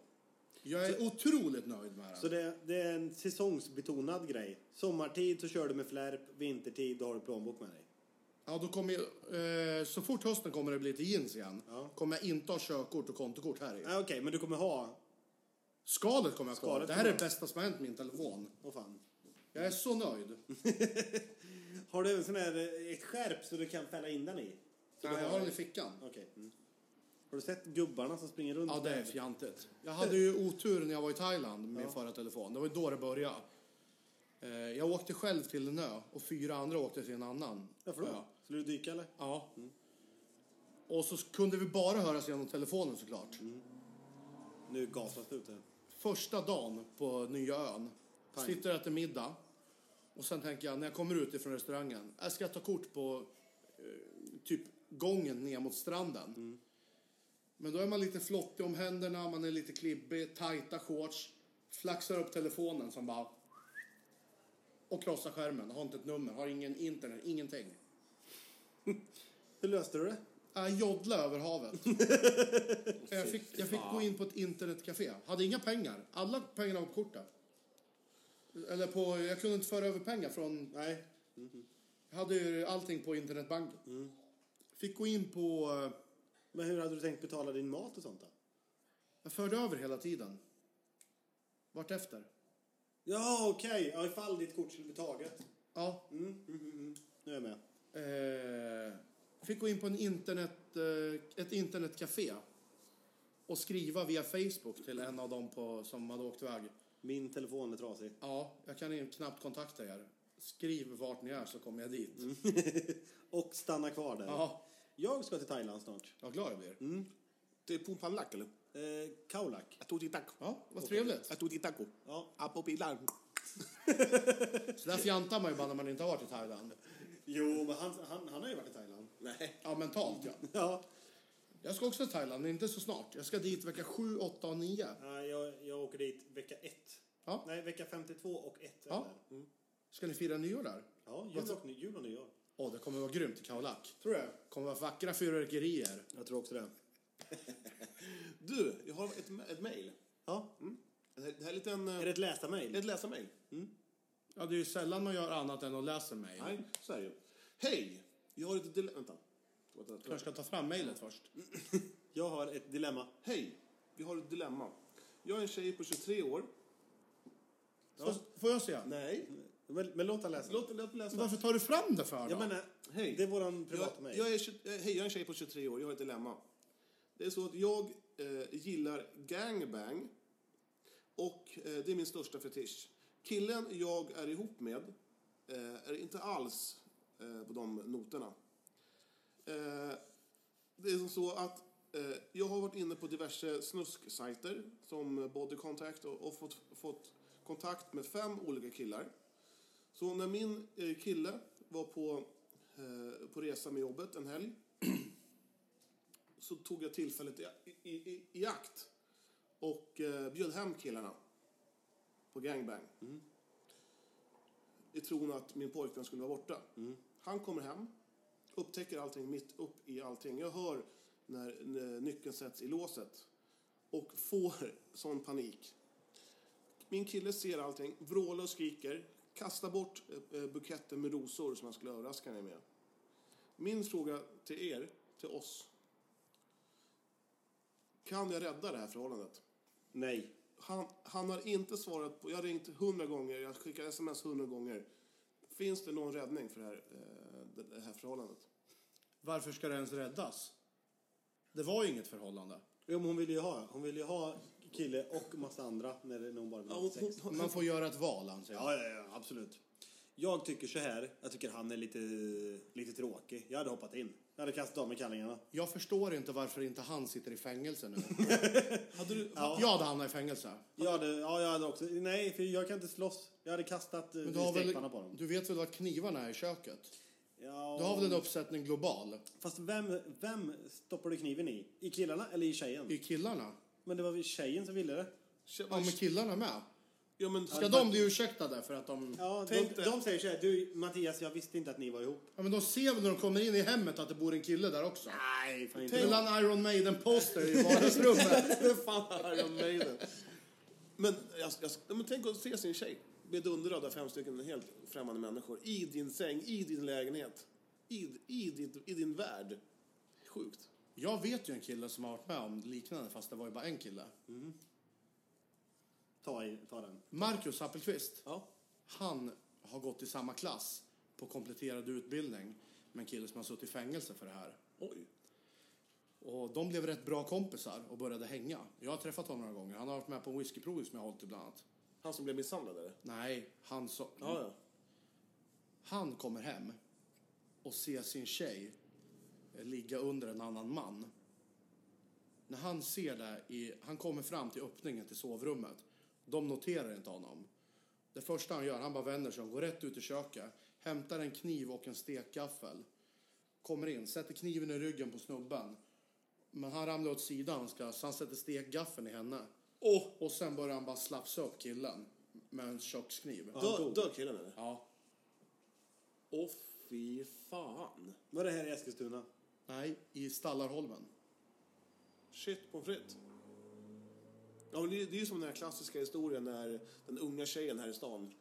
Speaker 1: Jag är otroligt nöjd med den.
Speaker 4: Så det, det är en säsongsbetonad grej. Sommartid så kör du med flärp, vintertid då har du plånbok med dig.
Speaker 1: Ja, då kommer jag, eh, så fort hösten kommer det bli till jeans igen
Speaker 4: Ja.
Speaker 1: kommer jag inte ha körkort och kontokort här i.
Speaker 4: Nej, Okej, men du kommer ha...
Speaker 1: Skalet kommer jag kvar.
Speaker 4: Skalet
Speaker 1: Det här är det
Speaker 4: kommer jag.
Speaker 1: bästa som har hänt min telefon.
Speaker 4: Åh fan.
Speaker 1: Jag är så nöjd.
Speaker 4: Har du en sån här, eh, ett skärp så du kan fälla in den i? Så
Speaker 1: Nej,
Speaker 4: du
Speaker 1: jag har den i fickan.
Speaker 4: Okej. Mm. Har du sett gubbarna som springer runt?
Speaker 1: Ja, det är
Speaker 4: med-
Speaker 1: fjantigt. Jag hade
Speaker 4: (laughs)
Speaker 1: ju otur när jag var i Thailand med förra telefon. Det var ju då det började. Eh, Jag åkte själv till en ö och fyra andra åkte till en annan
Speaker 4: Varför då?
Speaker 1: ö.
Speaker 4: Skulle du dyka eller?
Speaker 1: Ja. Och så kunde vi bara höras genom telefonen såklart.
Speaker 4: Mm. Nu gasas det ute.
Speaker 1: Första dagen på nya ön sitter jag till middag och sen tänker jag när jag kommer ut ifrån restaurangen, jag ska ta kort på eh, typ gången ner mot stranden.
Speaker 4: Mm.
Speaker 1: Men då är man lite flottig om händerna, man är lite klibbig, tajta shorts, flaxar upp telefonen som bara och krossar skärmen, har inte ett nummer, har ingen internet, ingenting.
Speaker 4: Hur löste du det?
Speaker 1: Jag joddlade Äh, över havet. jag fick, jag fick gå in på ett internetcafé. Hade inga pengar. Alla pengarna var på kortet. Eller på, jag kunde inte föra över pengar från... Nej. Jag hade ju allting på internetbanken. Fick gå in på... eh,
Speaker 4: Men hur hade du tänkt betala din mat och sånt då?
Speaker 1: Jag förde över hela tiden. Vart efter.
Speaker 4: Ja, okej. Ja, ifall ditt kort skulle bli taget.
Speaker 1: Ja.
Speaker 4: Nu är jag med.
Speaker 1: Eh, fick gå in på en internet, eh, ett internetcafé och skriva via Facebook till en av dem på, som hade åkt iväg.
Speaker 4: Min telefon är trasig.
Speaker 1: Ja, jag kan ju knappt kontakta er. Skriv vart ni är så kommer jag dit.
Speaker 4: (laughs) och stanna kvar där. Mm.
Speaker 1: Ja,
Speaker 4: Jag ska till Thailand snart.
Speaker 1: vad glad jag blir.
Speaker 6: Till Pumpanlack, eller?
Speaker 4: Eh, Kaulak.
Speaker 6: Jag tog till taco.
Speaker 1: Ja, vad trevligt.
Speaker 6: Jag tog till taco.
Speaker 4: Ja.
Speaker 6: Apopilar.
Speaker 4: Mm.
Speaker 1: Så där fjantar man ju bara när man inte har varit i Thailand.
Speaker 4: Jo, men han, han, han har ju varit i Thailand. Nej.
Speaker 1: Ja, mentalt ja.
Speaker 4: Ja.
Speaker 1: Jag ska också till Thailand, men inte så snart. Jag ska dit vecka 7, 8 och 9.
Speaker 4: Nej, jag, jag åker dit vecka ett.
Speaker 1: Ja.
Speaker 4: Nej, vecka 52 och ett. är
Speaker 1: Ja. Alltså-
Speaker 4: det. Mm.
Speaker 1: Ska ni fira nyår där?
Speaker 4: ja jul, och, ny- jul och nyår.
Speaker 1: Åh, det kommer vara grymt i Khao Lak.
Speaker 4: Tror du
Speaker 1: kommer vara vackra fyrverkerier.
Speaker 4: Jag tror också det.
Speaker 6: Du, jag har ett, ett mejl.
Speaker 4: Ja.
Speaker 6: Det här det här är en liten...
Speaker 4: Är
Speaker 6: eh,
Speaker 4: det ett läsarmejl?
Speaker 6: Ett läsarmejl.
Speaker 1: Ja, det är ju sällan man gör annat än att läsa mejl.
Speaker 6: Nej, så är det ju. Hej! Jag har ett dilemma... Vänta. Vänta, vänta.
Speaker 1: Kanske ska ta fram mejlet först.
Speaker 4: Jag har ett dilemma.
Speaker 6: Hej, vi har ett dilemma. Jag är en tjej på 23 år.
Speaker 1: Så, får jag se?
Speaker 6: Nej.
Speaker 4: Men, men låt han läsa.
Speaker 6: Låt, låt mig läsa.
Speaker 1: Varför tar du fram det för då?
Speaker 4: Jag menar,
Speaker 6: Hej.
Speaker 4: det är våran
Speaker 6: Jag,
Speaker 4: privata
Speaker 6: jag,
Speaker 4: mejl.
Speaker 6: är, tjugo- eh, hej, jag är en tjej på 23 år. Jag har ett dilemma. Det är så att jag eh, gillar gangbang. Och eh, det är min största fetisch. Killen jag är ihop med eh, är inte alls eh, på de noterna. Eh, det är som så att eh, jag har varit inne på diverse snusksajter som Body Contact och, och fått, fått kontakt med fem olika killar. Så när min eh, kille var på, eh, på resa med jobbet en helg så tog jag tillfället i, i, i, i akt och eh, bjöd hem killarna på gangbang. I tron att min pojkvän skulle vara borta. Han kommer hem, upptäcker allting mitt upp i allting. Jag hör när, när nyckeln sätts i låset och får sån panik. Min kille ser allting, vrålar och skriker, kastar bort eh, eh, buketten med rosor som han skulle överraska mig med. Min fråga till er, till oss. Kan jag rädda det här förhållandet?
Speaker 4: Nej.
Speaker 6: Han, han har inte svarat på... Jag har ringt hundra gånger, jag skickar sms hundra gånger. Finns det någon räddning för det här, eh, det- det här förhållandet?
Speaker 1: Varför ska det ens räddas? Det var ju inget förhållande.
Speaker 4: Jo, men hon ville ju ha. Hon ville ju ha kille och massa andra när, när hon bara ville ha sex.
Speaker 1: Man får göra ett val, anser jag.
Speaker 4: Ja, ja, ja, absolut. Jag tycker så här. Jag tycker han är lite, lite tråkig. Jag hade hoppat in. Jag hade kastat av mig kallingarna.
Speaker 1: Jag förstår inte varför inte han sitter i fängelse nu. hade du,
Speaker 4: Ja.
Speaker 1: Jag hade hamnat i fängelse.
Speaker 4: Jag hade, ja, jag hade också... Nej, för jag kan inte slåss. Jag hade kastat
Speaker 1: Men du, har
Speaker 4: stekpanna på
Speaker 1: väl,
Speaker 4: dem.
Speaker 1: du vet väl vad knivarna är i köket?
Speaker 4: Ja,
Speaker 1: Du har väl en uppsättning global?
Speaker 4: Fast vem, vem stoppar du kniven i? I killarna eller i tjejen?
Speaker 1: I killarna?
Speaker 4: Men det var väl tjejen som ville det.
Speaker 1: Ja, men killarna med.
Speaker 6: Ja, men,
Speaker 1: Ska de bli ursäktade för att de...
Speaker 4: Ja, de,
Speaker 6: Tänk dig.
Speaker 4: de säger så här. Du, Mattias, jag visste inte att ni var ihop.
Speaker 1: Ja, men de ser väl när de kommer in i hemmet att det bor en kille där också?
Speaker 4: Nej, fan inte. jag.
Speaker 1: Mellan Iron Maiden-poster i
Speaker 6: (laughs)
Speaker 1: vardagsrummet.
Speaker 6: Fan, Iron Maiden. Men, jag, jag, men tänk att se sin tjej bedundrad av fem stycken helt främmande människor i din säng, i din lägenhet, i, i, ditt, i din värld. Sjukt.
Speaker 1: Jag vet ju en kille som har varit med om liknande, fast det var ju bara en kille.
Speaker 4: Ta, i, ta den.
Speaker 1: Marcus Appelqvist.
Speaker 6: Ja.
Speaker 1: Han har gått i samma klass på kompletterad utbildning med en kille som har suttit i fängelse för det här.
Speaker 6: Oj.
Speaker 1: Och de blev rätt bra kompisar och började hänga. Jag har träffat honom några gånger. Han har varit med på en whiskyprovning som jag har hållit ibland annat.
Speaker 6: Han som blev misshandlad, eller?
Speaker 1: Nej, han så...
Speaker 6: Ja, ja.
Speaker 1: Han kommer hem och ser sin tjej eh, ligga under en annan man. När han ser det i... Han kommer fram till öppningen till sovrummet. De noterar inte honom. Det första han gör, han bara vänder sig om, går rätt ut i köket, hämtar en kniv och en stekgaffel. Kommer in, sätter kniven i ryggen på snubben. Men han ramlar åt sidan, ska, så han sätter stekgaffeln i henne. Och, och sen börjar han bara slafsa upp killen med en kökskniv.
Speaker 6: Dö, dö killen, eller?
Speaker 1: Ja.
Speaker 6: Åh, fy fan.
Speaker 4: Var det här i Eskilstuna?
Speaker 1: Nej, i Stallarholmen.
Speaker 6: Shit pommes frites. Ja, men det, är- det är ju som den här klassiska historien när den unga tjejen här i stan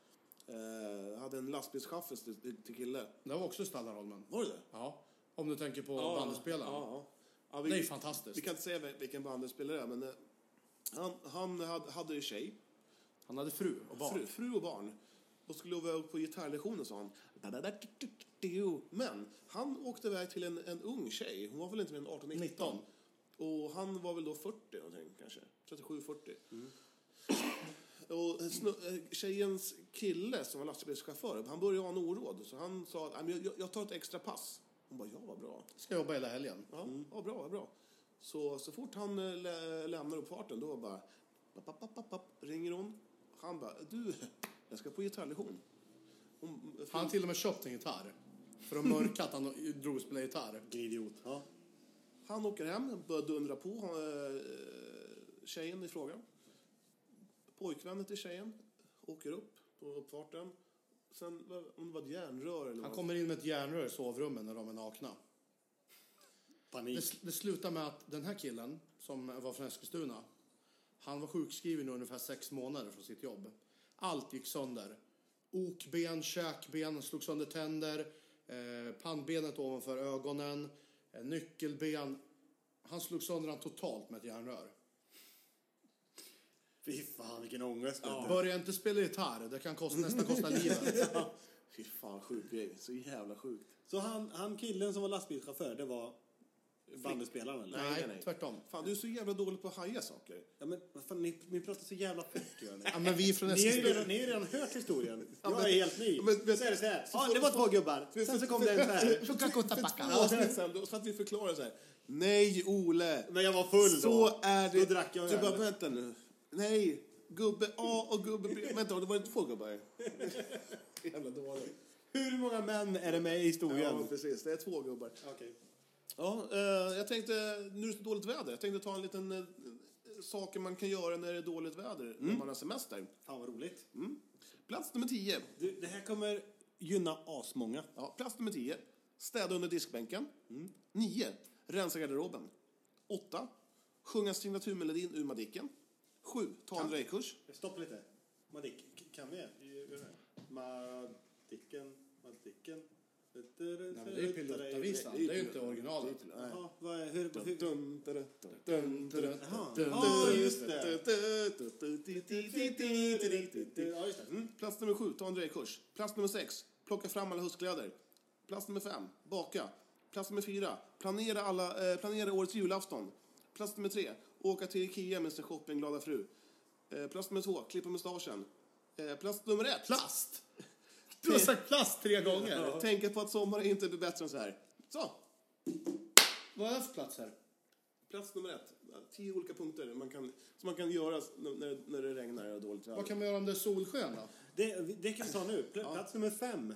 Speaker 6: eh, hade en lastbilschaffis till, till- till kille.
Speaker 1: Det var också i Stallarholmen.
Speaker 6: Var det det?
Speaker 1: Ja. Om du tänker på
Speaker 6: Ja,
Speaker 1: bandspelaren.
Speaker 6: Ja, ja. Ja, vi,
Speaker 1: Det är ju fantastiskt.
Speaker 6: Vi kan inte säga vil- vilken bandspelare det är, men eh, han, han hade, hade ju tjej,
Speaker 1: Han hade fru och barn.
Speaker 6: Fru, fru och barn. Och skulle vara på gitarrlektioner, sa han. Men han åkte iväg till en, en ung tjej. Hon var väl inte mer än 18-19.
Speaker 1: 19.
Speaker 6: Och han var väl då 40 någonting kanske. 37-40.
Speaker 1: Mm.
Speaker 6: Och snu, eh, tjejens kille som var lastbilschaufför, han började ha en oråd. Så han sa att "Nej, men jag, jag tar ett extra pass. Hon bara, ja vad bra.
Speaker 1: Ska jobba hela helgen.
Speaker 6: Ja, ja bra, vad bra. Så, så fort han eh, lä- lämnar uppfarten då bara papp, papp, papp, papp, papp, ringer hon. Han bara, du, jag ska på gitarrlektion. Hon, eh,
Speaker 1: Han har till och med köpt en gitarr. För att mörka att han (laughs) drog och spelade gitarr.
Speaker 4: Idiot. Ja.
Speaker 6: Han åker hem, börjar dundra på eh, tjejen i fråga. Pojkvännen till tjejen åker upp på uppfarten. Sen, vad- om det var ett järnrör eller
Speaker 1: Han
Speaker 6: vad-
Speaker 1: kommer in med ett järnrör i sovrummen när de är nakna.
Speaker 4: Panik.
Speaker 1: Det, sl- det slutar med att den här killen, som var från Eskilstuna, han var sjukskriven i ungefär sex månader från sitt jobb. Allt gick sönder. Okben, käkben, slog sönder tänder, eh, pannbenet ovanför ögonen, eh, nyckelben. Han slog sönder han totalt med ett järnrör.
Speaker 4: Fy fan, vilken ångest.
Speaker 1: Ja.
Speaker 4: vet du.
Speaker 1: Börja inte spela gitarr, det kan kosta, nästan kosta (laughs) livet.
Speaker 6: Fy fan, sjuk grej. Så jävla sjukt.
Speaker 4: Så han, han killen som var lastbilschaufför, det var bandespelaren eller?
Speaker 1: Nej, tvärtom.
Speaker 6: Fan, du är så jävla dålig på att haja saker.
Speaker 4: Ja, men vad fan, ni, ni pratar så jävla fort gör ni.
Speaker 1: Ja, men vi är från
Speaker 4: Ni har ju
Speaker 1: Eskilstuna.
Speaker 4: redan, ni har ju redan hört historien. Jag
Speaker 6: men-
Speaker 4: är helt ny.
Speaker 6: men- men-
Speaker 4: så är det så här. Ja, det var två gubbar. Sen så kom det en
Speaker 1: (laughs)
Speaker 4: så här.
Speaker 6: Ja, sen, sen, så att vi förklarar så här. Nej, Ole.
Speaker 4: Men jag var full då.
Speaker 6: Så är det.
Speaker 4: Då drack jag
Speaker 6: Du
Speaker 4: öl.
Speaker 6: bara, vänta nu. Nej, gubbe A och gubbe B. Vänta, det var inte två gubbar. jävla dålig.
Speaker 4: Hur många män är det med i historien?
Speaker 6: Ja, precis. Det är två gubbar.
Speaker 4: Okej.
Speaker 6: Ja, eh, jag tänkte, nu är det så dåligt väder. Jag tänkte ta en liten eh, saker man kan göra när det är dåligt väder, när man har semester.
Speaker 4: Fan vad roligt. Mm.
Speaker 6: Plats nummer 10.
Speaker 4: Du, det här kommer gynna asmånga.
Speaker 6: Ja, plats nummer 10. Städa under diskbänken. 9. Rensa garderoben. 8. Sjunga signaturmelodin ur Madicken. 7. Ta en röjkurs.
Speaker 4: Stopp lite. Madick, k- kan vi? Gör det. Madicken, Madicken. Nej,
Speaker 1: Nej, men det är ju pilotavvisan, det är ju inte originalet.
Speaker 4: Jaha, vad är, hur, hur, Jaha.
Speaker 6: Ja,
Speaker 4: Ja, just det. Ja, just det. Mm.
Speaker 6: Plats nummer 7. Ta en röjkurs. Plats nummer 6. Plocka fram alla huskläder. Plats nummer 5. Baka. Plats nummer 4. Planera, alla, eh, planera årets julafton. Plats nummer 3. Åka till Ikea med sin shoppingglada fru. Eh, plats nummer 2. Klippa mustaschen. Eh, plats nummer 1.
Speaker 1: Plast! Du
Speaker 4: Typ.
Speaker 1: har sagt plast tre gånger.
Speaker 6: Tänka på att sommaren inte blir bättre än så här. Så,
Speaker 1: Vad är det för plats här?
Speaker 6: plats nummer ett. Tio olika punkter man kan, som man kan göra s- n- när, när det regnar och dåligt väder.
Speaker 1: Vad kan man göra om det är solsken då?
Speaker 4: Det, det kan vi ta nu. Pl- Plats nummer fem,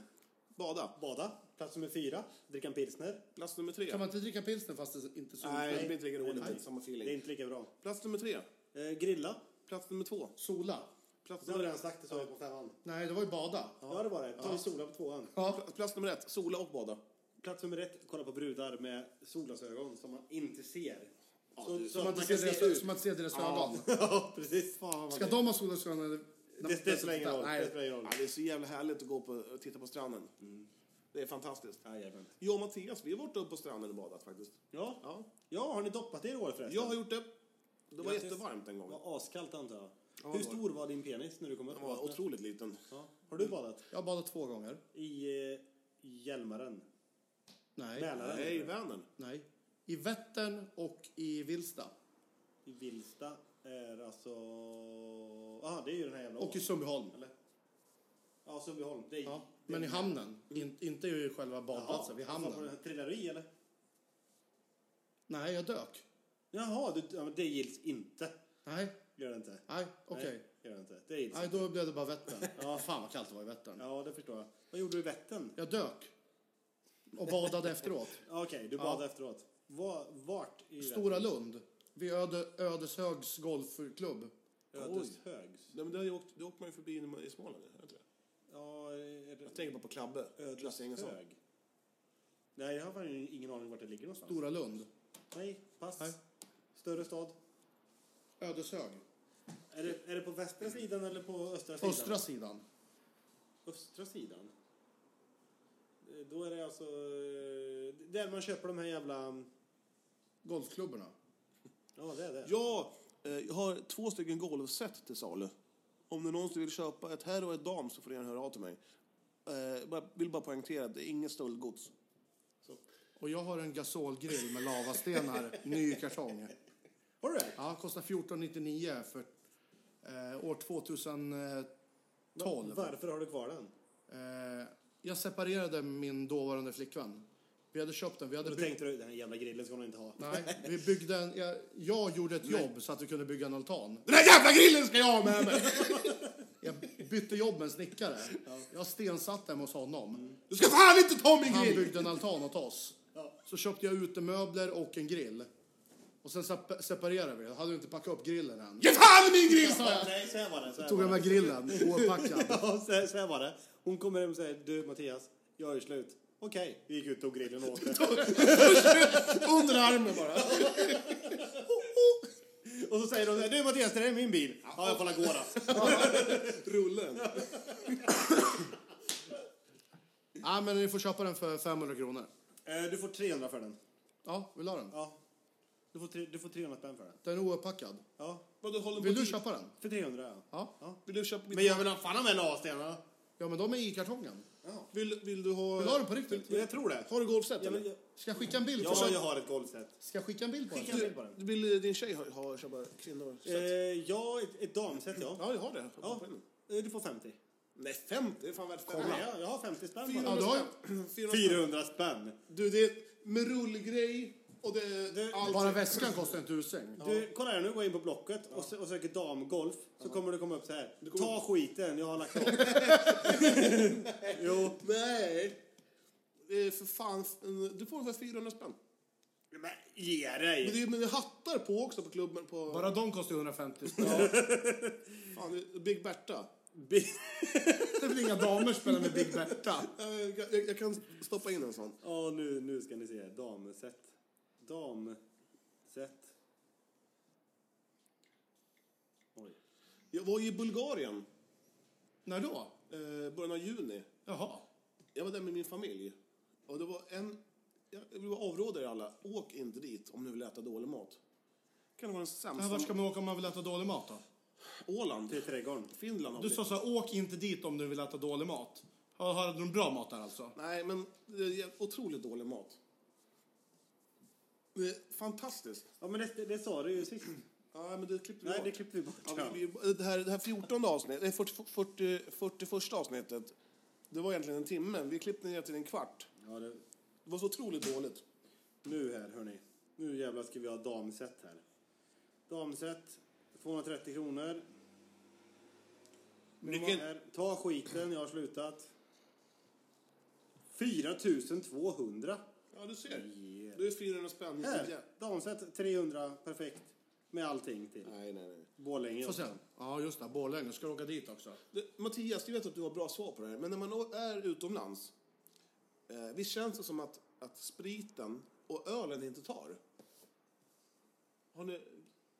Speaker 6: Bada.
Speaker 4: bada. Plats nummer fyra, dricka en pilsner.
Speaker 6: Plats nummer tre.
Speaker 1: Kan man inte dricka pilsner fast det är inte är solsken?
Speaker 6: Nej, det blir inte lika roligt.
Speaker 4: Nej,
Speaker 6: Det är inte samma
Speaker 4: Det är
Speaker 6: feeling.
Speaker 4: inte lika bra.
Speaker 6: Plats nummer tre.
Speaker 4: Eh, grilla.
Speaker 6: Plats nummer två.
Speaker 1: Sola?
Speaker 6: Plats
Speaker 4: Det har vi
Speaker 6: nummer,
Speaker 4: redan sagt, det sa jag på femman.
Speaker 1: Nej, det var ju bada.
Speaker 4: Ja, det var det. Ta ja. sola på tvåan.
Speaker 1: Ja.
Speaker 6: pl- plats nummer ett. Sola och bada.
Speaker 4: Plats nummer ett, kolla på brudar med solglasögon som man inte ser. Så, så
Speaker 1: Som
Speaker 6: (laughs)
Speaker 1: att
Speaker 4: man
Speaker 1: inte se
Speaker 4: kan se
Speaker 1: deras-
Speaker 4: ut.
Speaker 1: som att se deras ögon.
Speaker 4: Ja, precis. Fan vad
Speaker 1: Ska
Speaker 4: det-
Speaker 1: de ha solglasögon eller?
Speaker 4: det spelar ingen roll. Det
Speaker 1: Nej.
Speaker 4: spelar ingen roll.
Speaker 6: Ja, det är så jävla härligt att gå på och titta på stranden. Det är fantastiskt.
Speaker 4: Jajamän.
Speaker 6: Jag och Mattias, vi har varit uppe på stranden och badat faktiskt.
Speaker 4: Ja.
Speaker 6: Ja.
Speaker 4: ja, har ni doppat er i år förresten?
Speaker 6: Jag har gjort det. Det var
Speaker 4: Grattis.
Speaker 6: jättevarmt en
Speaker 4: Det
Speaker 6: gång.
Speaker 4: var askallt antar jag.
Speaker 6: det
Speaker 4: Hur
Speaker 6: var
Speaker 4: stor var din penis när du kom upp?
Speaker 6: Den var otroligt liten.
Speaker 4: Ja. Har du badat?
Speaker 1: Jag har badat två gånger.
Speaker 4: I eh, Hjälmaren?
Speaker 1: Nej.
Speaker 4: Mälaren?
Speaker 6: Nej, Vänern.
Speaker 1: Nej. I Vättern och i Vilsta.
Speaker 4: I Vilsta är alltså... Jaha, det är ju den här jävla
Speaker 1: Och i
Speaker 4: ån.
Speaker 1: Sundbyholm.
Speaker 4: Eller? Ja, Sundbyholm. Det är...
Speaker 1: Ja. Men i hamnen. In, inte i själva badplatsen, vid hamnen.
Speaker 4: Trillar du i eller?
Speaker 1: Nej, jag dök.
Speaker 4: Jaha, du... ja, men det gills inte.
Speaker 1: Nej,
Speaker 4: Gör det inte.
Speaker 1: nej, okej.
Speaker 4: Nej, gör det inte. Det gills
Speaker 1: Nej,
Speaker 4: inte.
Speaker 1: då blev det bara Vättern. ja. Fan vad kallt det var i Vättern.
Speaker 4: Ja, det förstår jag. Vad gjorde du i Vättern?
Speaker 1: Jag dök. Och badade efteråt.
Speaker 4: Okej, du badade efteråt. Var, vart i
Speaker 1: Stora Lund. Vid Öde, Ödeshögs golfklubb.
Speaker 4: Vättern? Ödeshögs?
Speaker 6: Nej, men det, har ju åkt, det åker man ju förbi när man är i Småland. Jag, tror jag.
Speaker 4: Ja, är det...
Speaker 6: jag tänker bara på Klabbe. Klasse Engelsson.
Speaker 4: Ödeshög? Nej, jag har fan ingen aning vart det ligger någonstans.
Speaker 1: Stora Lund.
Speaker 4: Nej, pass.
Speaker 1: Nej.
Speaker 4: Större stad.
Speaker 1: Ödeshög.
Speaker 4: Är det, är det på västra sidan eller på östra sidan?
Speaker 1: Östra sidan.
Speaker 4: Östra sidan? Eh, Då är det alltså eh, där man köper de här jävla...
Speaker 1: Golfklubborna.
Speaker 4: Ja, det är det.
Speaker 6: Ja, eh, jag har två stycken golvset till salu. Om det är någon som vill köpa ett herr och ett dam så får ni gärna höra av till mig. Eh, bara, vill bara poängtera att det är inget stöldgods.
Speaker 1: Och jag har en gasolgrill med
Speaker 4: (laughs)
Speaker 1: lavastenar, ny kartong.
Speaker 4: Har du det?
Speaker 1: Ja, kostar 14,99 för eh, år 2012.
Speaker 4: Varför har du kvar den?
Speaker 1: Eh, jag separerade min dåvarande flickvän. Vi hade köpt den. Vi hade
Speaker 4: Då
Speaker 1: byggt,
Speaker 4: tänkte du, den här jävla grillen ska hon inte ha.
Speaker 1: nej, vi byggde en, jag, jag gjorde ett jobb så att vi kunde bygga en altan.
Speaker 6: Den där jävla grillen ska jag ha med mig!
Speaker 1: Jag bytte jobb med en snickare. Jag stensatt den hos honom.
Speaker 6: Du ska fan inte ta min
Speaker 1: Han
Speaker 6: grill!
Speaker 1: byggde en altan åt oss. Så köpte jag utemöbler och en grill. Och sen sep- separerade vi. Jag hade inte packat upp grillen än.
Speaker 6: Ge fan i min grill! sa jag!
Speaker 4: Ja, Nej, så här var det. Så här
Speaker 1: Tog jag
Speaker 4: var
Speaker 1: med
Speaker 4: det.
Speaker 1: grillen,
Speaker 6: (laughs)
Speaker 1: opackad.
Speaker 4: (laughs) Ja, så här, så här var det. Hon kommer hem och säger, du Mattias, jag är slut. Okej, vi gick ut och tog grillen och åt den.
Speaker 1: (laughs) Under armen bara.
Speaker 4: (laughs) Och så säger hon, så här, du Mattias, det där är min bil. Ja, jag får la gå
Speaker 1: (laughs)
Speaker 4: då.
Speaker 6: Rullen.
Speaker 1: Ja, men ni får köpa den för 500 kronor.
Speaker 4: Eh, Du får 300 för den.
Speaker 1: Ja, vill du ha den?
Speaker 4: Ja. Du får, tre, du får 300 spänn för den.
Speaker 1: Den är ouppackad.
Speaker 4: Ja.
Speaker 6: Vadå, håller
Speaker 1: Vill
Speaker 6: på
Speaker 1: du
Speaker 6: ti-
Speaker 1: köpa den?
Speaker 4: För 300, ja.
Speaker 1: Ja.
Speaker 6: Vill du köpa
Speaker 4: Men jag vill ha fan ha med lastenarna.
Speaker 1: Ja, men de är i kartongen.
Speaker 6: Vill, vill du ha...
Speaker 1: Vill du ha den på riktigt?
Speaker 4: Ja, jag tror det.
Speaker 6: Har du golfset
Speaker 4: Ja, men
Speaker 6: eller?
Speaker 4: jag,
Speaker 1: Ska jag skicka en bild på
Speaker 4: ja,
Speaker 1: den?
Speaker 4: jag har ett golfset.
Speaker 1: Ska jag skicka en bild på den?
Speaker 4: Skicka en bild på den.
Speaker 6: Du Vill eh, din tjej ha, ha köpa
Speaker 4: Eh,
Speaker 6: kvinnoset?
Speaker 4: ja, ett, ett damset, ja.
Speaker 6: Ja, jag har det.
Speaker 4: ja. eh, Du får 50.
Speaker 6: Nej, 50? Det är fan värt 50.
Speaker 4: Ja, jag har 50 spänn
Speaker 1: Ja,
Speaker 4: bara.
Speaker 1: du har ju
Speaker 4: 400 spänn.
Speaker 6: Du, det är med rullgrej och det...
Speaker 4: Du-
Speaker 6: allt.
Speaker 1: Bara väskan kostar en tusing.
Speaker 4: Du, kolla här nu, går jag in på Blocket och, sö- och söker damgolf. Så kommer det komma upp så här. Ta skiten, jag har lagt av. jo.
Speaker 6: Nej! Det är för fan... Du får ungefär 400 spänn.
Speaker 4: (laughs) Men ge
Speaker 6: Men
Speaker 4: dig!
Speaker 6: det är, men det är hattar på också på klubben. På,
Speaker 1: Bara de kostar 150 spänn.
Speaker 6: fan, det är Big Berta.
Speaker 1: (laughs) Det blir inga damer spelar med Big Berta.
Speaker 6: Jag, jag, jag kan stoppa in en sån.
Speaker 4: Ja, nu, nu ska ni se. Damset. Damset. Oj.
Speaker 6: Jag var i Bulgarien
Speaker 1: När då?
Speaker 6: eh, början av juni.
Speaker 1: Jaha.
Speaker 6: Jag var där med min familj. Och det var en... Jag vill avråda er alla. Åk inte dit om ni vill äta dålig mat. Kan det vara den
Speaker 1: Men vart
Speaker 6: sämsta...
Speaker 1: ska man åka om man vill äta dålig mat då?
Speaker 6: Åland.
Speaker 4: Till trädgården.
Speaker 6: Finland har
Speaker 1: Du
Speaker 6: vi.
Speaker 1: sa så här, åk inte dit om du vill äta dålig mat. Har, har de bra mat där alltså?
Speaker 6: Nej, men det är otroligt dålig mat. Det är fantastiskt.
Speaker 4: Ja, men det, det sa du ju sist.
Speaker 6: Ja, men det klippte vi
Speaker 4: Nej,
Speaker 6: bort.
Speaker 4: det klippte vi bort.
Speaker 6: Ja, vi, vi- eh, det, här, det här 14 avsnittet, eh, det 40, 40, 41 avsnittet, det var egentligen en timme. Vi klippte ner till en kvart.
Speaker 4: Ja, det,
Speaker 6: Det var så otroligt dåligt.
Speaker 4: nu här, hörni. Nu jävlar ska vi ha damset här. Damset. 230 kronor. Hur många är- Ta skiten, jag har slutat. 4200.
Speaker 6: Ja, du ser. Det är 400 spänn.
Speaker 4: Här, damset 300, perfekt. Med allting till.
Speaker 6: Nej, nej, nej.
Speaker 4: Borlänge.
Speaker 1: Får se. Ja, just det. Borlänge. Ska du åka dit också?
Speaker 6: Det, Mattias, jag vet att du har bra svar på det här, men när man å- är utomlands, eh, visst känns det som att, att spriten och ölen inte tar? Har ni...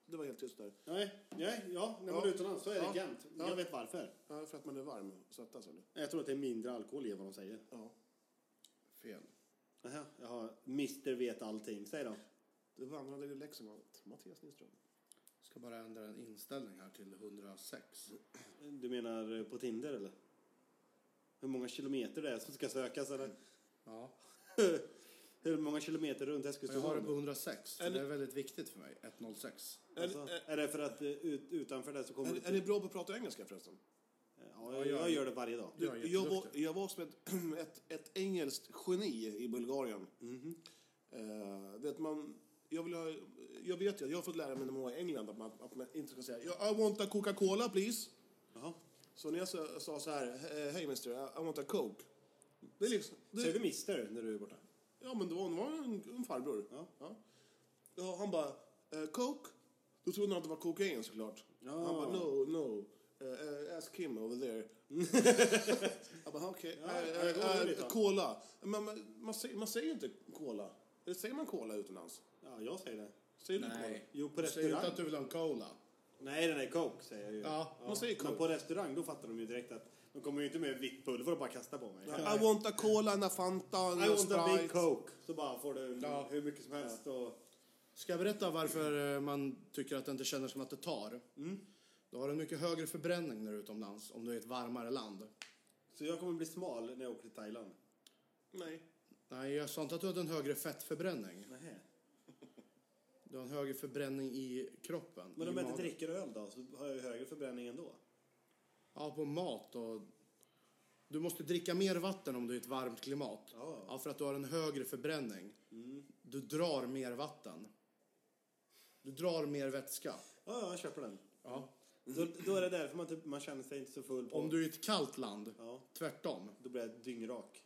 Speaker 6: Det var helt tyst där.
Speaker 4: Nej, nej, ja, när man
Speaker 6: Ja.
Speaker 4: är utomlands så är det
Speaker 6: Ja.
Speaker 4: jämnt.
Speaker 6: Ja.
Speaker 4: Jag vet varför.
Speaker 6: Ja, för att man är varm och svettas, eller?
Speaker 4: Jag tror att det är mindre alkohol i vad de säger.
Speaker 6: Ja.
Speaker 1: Fel.
Speaker 4: Aha, jaha, Mister vet allting. Säg då.
Speaker 6: Du vandrade i Leksand, Mattias Nyström.
Speaker 1: Ska bara ändra en inställning här till 106.
Speaker 4: Du menar eh, på Tinder eller? Hur många kilometer det är som ska sökas eller?
Speaker 1: Ja.
Speaker 4: (laughs) Hur många kilometer runt
Speaker 1: Jag har det på
Speaker 4: Eskilstuna?
Speaker 1: 106. så Det är väldigt viktigt för mig. 106.
Speaker 4: Alltså, är det för att eh, ut, utanför det så kommer
Speaker 6: Är, är ni bra på att prata engelska förresten?
Speaker 4: Ja, jag, jag gör det varje dag.
Speaker 1: Du- Jag är
Speaker 6: Jag var,
Speaker 1: jätteduktig.
Speaker 6: jag var som ett, (clears throat) ett, ett engelskt geni i Bulgarien. Eh, vet man, jag, vill ha, jag vet ju, att jag har fått lära mig när man var i England att man, att man inte ska säga "Ja, I want a Coca-Cola please.
Speaker 4: Jaha.
Speaker 6: Så när jag sa, sa så här, "Eh, hej mister, I, I want a Coke. Det är liksom,
Speaker 4: Säger
Speaker 6: det,
Speaker 4: du mister när du är borta?
Speaker 6: ja men det var, det var en, en farbror. Ja. Ja, han bara, "Eh, Coke? Då trodde han att det var kokain såklart. Han bara, no, no. Eh, eh, ask him over there. Jag bara, okej.
Speaker 4: Ja,
Speaker 6: eh,
Speaker 4: ja, det går
Speaker 6: eh,
Speaker 4: roligt, va?
Speaker 6: Cola. Men man, man, säger, man säger inte cola. Eller säger man cola utomlands?
Speaker 4: Ja, jag säger det.
Speaker 6: Säger du cola?
Speaker 1: Nej.
Speaker 4: Jo, på
Speaker 1: Du säger inte
Speaker 4: restaurang.
Speaker 1: att du vill ha en cola.
Speaker 4: Nej, den är coke säger jag ju.
Speaker 1: Ja,
Speaker 6: man säger
Speaker 4: Men
Speaker 6: Coke.
Speaker 4: på restaurang då fattar de ju direkt att de kommer ju inte med vitt pulver och bara kasta på mig.
Speaker 6: I want a cola, and a Fanta, and
Speaker 4: I
Speaker 6: a
Speaker 4: want a big
Speaker 6: Sprite.
Speaker 4: coke. Så bara får du
Speaker 1: Ja.
Speaker 4: hur mycket som helst och...
Speaker 1: Ska jag berätta varför eh, man tycker att det inte känner som att det tar?
Speaker 4: Mm.
Speaker 1: Då har du en mycket högre förbränning när du är utomlands om du är i ett varmare land.
Speaker 4: Så jag kommer bli smal när jag åker till Thailand.
Speaker 6: Nej.
Speaker 1: Nej, jag sa inte att du hade en högre fettförbränning.
Speaker 4: Nej.
Speaker 1: Du har en högre förbränning i kroppen.
Speaker 4: Men
Speaker 1: i
Speaker 4: om jag inte
Speaker 1: magen.
Speaker 4: dricker öl då så har jag ju högre förbränning ändå.
Speaker 1: Ja, på mat och... Du måste dricka mer vatten om du är i ett varmt klimat.
Speaker 4: Ja. Mm.
Speaker 1: för att du har en högre förbränning. Du drar mer vatten. Du drar mer vätska.
Speaker 4: Ja, ja, jag köper den.
Speaker 1: Ja.
Speaker 4: Då, då är det därför man, typ, man känner sig inte så full på...
Speaker 1: Om du är i ett kallt land,
Speaker 4: Ja.
Speaker 1: tvärtom.
Speaker 4: Då blir jag dyngrak.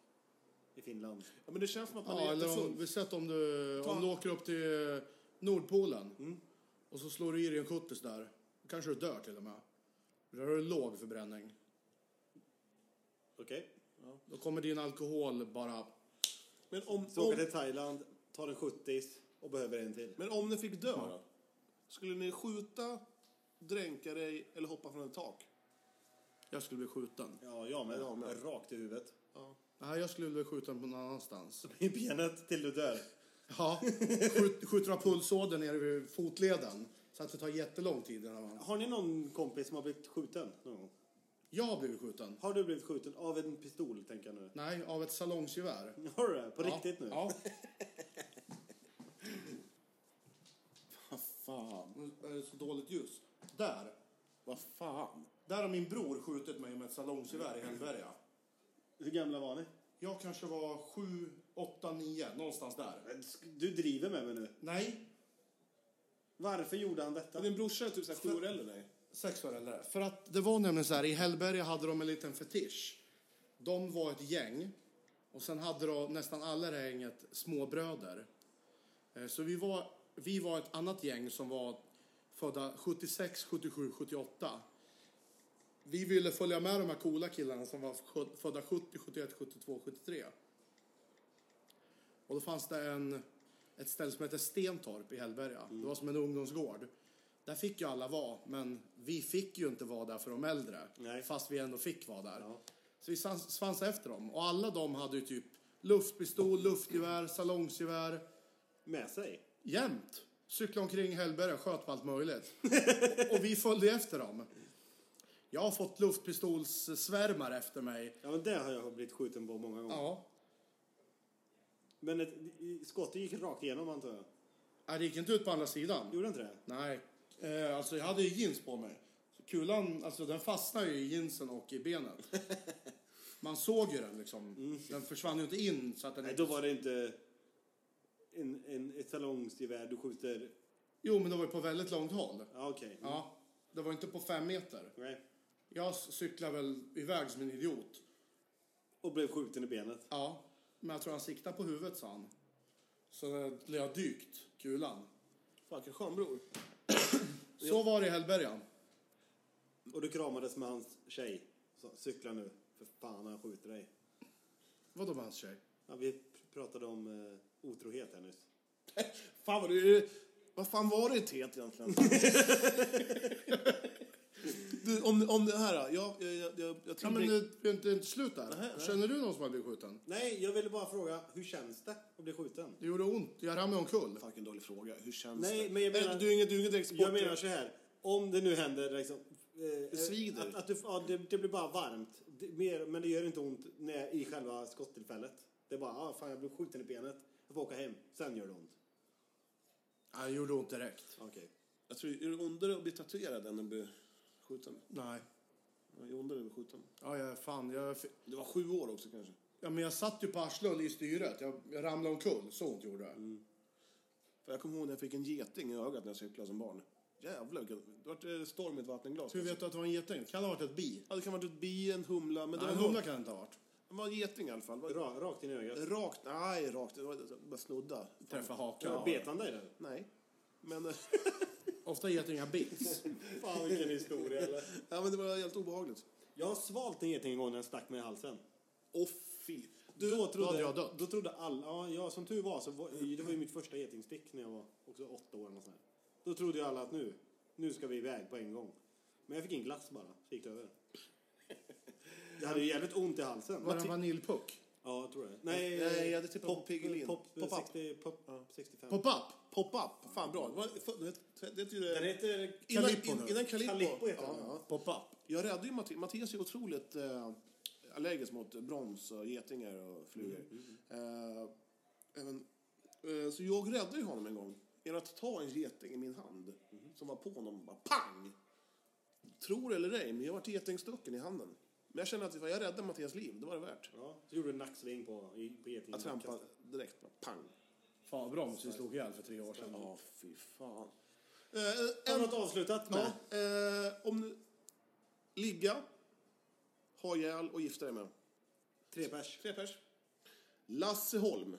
Speaker 4: I Finland.
Speaker 6: Ja, men det känns som att man
Speaker 1: Ja,
Speaker 6: är
Speaker 1: eller om,
Speaker 6: jättefull.
Speaker 1: vi sett om du, om du åker upp till eh, Nordpolen
Speaker 4: Mm.
Speaker 1: och så slår du i dig en kuttis där. Kanske du dör till och med. Där har du låg förbränning.
Speaker 4: Okej?
Speaker 1: Då kommer din alkohol bara...
Speaker 6: Men om,
Speaker 4: Så åker jag
Speaker 6: om,
Speaker 4: till Thailand, tar en 70 och behöver en till.
Speaker 6: men om ni fick dö då? Skulle ni skjuta, dränka dig eller hoppa från ett tak?
Speaker 1: Jag skulle bli skjuten.
Speaker 4: Ja, jag med.
Speaker 6: Jag med.
Speaker 4: Rakt i huvudet. (laughs)
Speaker 1: Nej, jag skulle bli skjuten på någon annanstans.
Speaker 4: I benet till du dör.
Speaker 1: Ja, skjut, skjuter av pulsådern nere vid fotleden. Så att det tar jättelång tid innan man...
Speaker 4: Har ni någon kompis som har blivit skjuten någon gång?
Speaker 1: Jag har blivit skjuten.
Speaker 4: Har du blivit skjuten av en pistol, tänker jag nu?
Speaker 1: Nej, av ett salongsgevär.
Speaker 4: Har du det? På
Speaker 1: Ja,
Speaker 4: riktigt nu?
Speaker 1: Ja. Vad fan. Det är så dåligt ljus. Där. Vad fan. Där har min bror skjutit mig med ett salongsgevär i Hällberga.
Speaker 4: Hur gamla var ni?
Speaker 1: Jag kanske var sju, åtta, nio. Någonstans där.
Speaker 4: Du driver med mig nu.
Speaker 1: Nej,
Speaker 4: Varför gjorde han detta?
Speaker 6: Din brorsa är typ så här sju år äldre än dig.
Speaker 1: sex år äldre. För att det var nämligen så här, i Hällberga hade de en liten fetisch. De var ett gäng och sen hade de nästan alla i det här gänget småbröder. Eh, Så vi var, vi var ett annat gäng som var födda 76, 77, 78. Vi ville följa med de här coola killarna som var sjut- födda 70, 71, 72, 73. Och då fanns det en, ett ställe som hette Stentorp i Hällberga. Det var som en ungdomsgård. Där fick ju alla vara, men vi fick ju inte vara där för de äldre.
Speaker 4: Nej.
Speaker 1: Fast vi ändå fick vara där.
Speaker 4: Ja.
Speaker 1: Så vi svans- svansade efter dem. Och alla de hade ju typ luftpistol, luftgevär, salongsgevär.
Speaker 4: Med sig?
Speaker 1: Jämt. Cyklade omkring Hällberga, sköt på allt
Speaker 4: (laughs)
Speaker 1: möjligt. och vi följde efter dem. Jag har fått luftpistolssvärmar efter mig.
Speaker 4: Ja, men det har jag blivit skjuten på många gånger.
Speaker 1: Ja.
Speaker 4: Men ett, i- skottet gick rakt igenom, antar jag.
Speaker 1: Nej, Det gick inte ut på andra sidan.
Speaker 4: Gjorde det inte det?
Speaker 1: Nej. Eh, alltså jag hade ju jeans på mig. Så kulan, alltså den fastnade ju i jeansen och i benet. (laughs) Man såg ju den liksom. Den försvann ju inte in så att den
Speaker 4: Nej, då var det inte en, en, ett salongsgevär du skjuter...
Speaker 1: Jo, men det var ju på väldigt långt håll.
Speaker 4: Ja, okej.
Speaker 1: Ja. Det var inte på fem meter.
Speaker 4: Nej.
Speaker 1: Jag cyklade väl iväg som en idiot.
Speaker 4: Och blev skjuten i benet.
Speaker 1: Ja, men jag tror han siktade på huvudet, sa han. Så det har Eh, dykt, kulan.
Speaker 6: Fan, vilken skön bror.
Speaker 1: Så var det i Hällberga.
Speaker 4: Och du kramades med hans tjej. Så, cykla nu. För fan, han skjuter dig.
Speaker 1: Vadå med hans tjej?
Speaker 4: Ja, vi pr- pratade om eh, otrohet här nyss.
Speaker 6: Fan vad du... Vad fan var det i
Speaker 4: (laughs)
Speaker 6: teet egentligen? du, om, om det här då. Jag, jag, jag, jag, jag
Speaker 1: Ja, men det det är inte, inte slut där.
Speaker 6: Nej, nej.
Speaker 1: Känner du någon som har blivit skjuten?
Speaker 4: Nej, jag ville bara fråga, hur känns det att bli skjuten?
Speaker 1: Det gjorde ont. Jag ramlade omkull.
Speaker 6: Fan vilken dålig fråga. Hur känns
Speaker 4: Nej,
Speaker 6: det?
Speaker 4: men jag
Speaker 6: Nej,
Speaker 4: menar-
Speaker 6: du är ingen, du är ingen direkt sport.
Speaker 4: Jag menar så här, om det nu händer liksom... eh,
Speaker 6: Det svider.
Speaker 4: Att, att du, ja, det, det blir bara varmt. Det, mer, men det gör inte ont när, i själva skottillfället. Det är bara, ah, fan jag blev skjuten i benet. Jag får åka hem. Sen gör det ont.
Speaker 1: Ja, det gjorde ont direkt.
Speaker 4: Okej.
Speaker 6: Jag tror, är det ondare att bli tatuerad än att bli skjuten?
Speaker 1: Nej.
Speaker 6: Ja, det är ondare att bli skjuten.
Speaker 1: Ja, jag, fan, jag, fi-
Speaker 6: Du var sju år också kanske.
Speaker 1: ja, men jag satt ju på arslet i styret. Jag, jag ramlade omkull. Så ont gjorde det.
Speaker 6: Mm. För jag kommer ihåg när jag fick en geting i ögat när jag cyklade som barn. Jävlar vilken... Det vart eh, storm i ett vattenglas.
Speaker 1: Hur vet du att det var en geting? Kan det ha varit ett bi?
Speaker 6: Ja, det kan ha varit ett bi, en humla. Men
Speaker 1: Nej,
Speaker 6: det
Speaker 1: en
Speaker 6: var,
Speaker 1: humla kan det inte ha varit.
Speaker 6: det var en geting i alla fall. Det var-
Speaker 4: Ra, rakt in i ögat.
Speaker 6: Rakt, nej rakt, det var det var bara snudda.
Speaker 1: Träffa hakan.
Speaker 4: Ja, bet han dig där?
Speaker 6: Nej. Men, eh,
Speaker 1: Ofta getingar (laughs) bits.
Speaker 4: Fan vilken historia eller?
Speaker 6: (laughs) ja, men det var helt obehagligt.
Speaker 4: Jag har svalt en geting en gång när den stack mig i halsen.
Speaker 6: Åh fy.
Speaker 4: Du, då trodde,
Speaker 1: hade jag dött.
Speaker 4: Då trodde alla, ja, ja som tur var så var, det var ju mitt första getingstick när jag var också åtta år eller nåt sånt där. Då trodde ju alla att nu, nu ska vi iväg på en gång. Men jag fick en glass bara, så gick det över. Jag hade ju jävligt ont i halsen.
Speaker 1: Var det en vaniljpuck?
Speaker 4: Ja, jag tror det. Nej,
Speaker 6: Nej, jag hade typ tippat på
Speaker 4: pop,
Speaker 6: Piggelin.
Speaker 4: Pop,
Speaker 6: Pop-up.
Speaker 4: 60, pop, 65.
Speaker 1: Pop-up?
Speaker 6: Pop-up, fan bra. Det var- för- Det hette- det hette ju...
Speaker 4: Den heter
Speaker 6: Innan,
Speaker 1: Calippo
Speaker 6: in-
Speaker 1: nu.
Speaker 6: innan Calippo.
Speaker 4: Calippo heter
Speaker 6: ja,
Speaker 4: den.
Speaker 6: ja.
Speaker 1: Pop-up.
Speaker 6: Jag räddade ju Mattias. Mattias är otroligt eh, allergisk mot brons och getingar och flugor. Eh, även, eh, så jag räddade ju honom en gång genom att ta en geting i min hand som var på honom och bara pang! Tror det eller ej, men jag vart getingstucken i handen. Men jag kände att ifall jag räddade Mattias liv, det var det värt.
Speaker 4: Ja, så gjorde du en nacksving på, i, på getingen.
Speaker 6: Jag trampade direkt, bara pang.
Speaker 1: Fan vad bra om vi slog ihjel för tre år sedan.
Speaker 6: Ja, fy fan. Eh,
Speaker 4: Har
Speaker 6: en-
Speaker 4: du något avslutat med?
Speaker 6: Ja, eh, om du... Ligga, ha ihjäl och gifta dig med.
Speaker 4: Tre pers.
Speaker 6: Tre pers. Lasse Holm.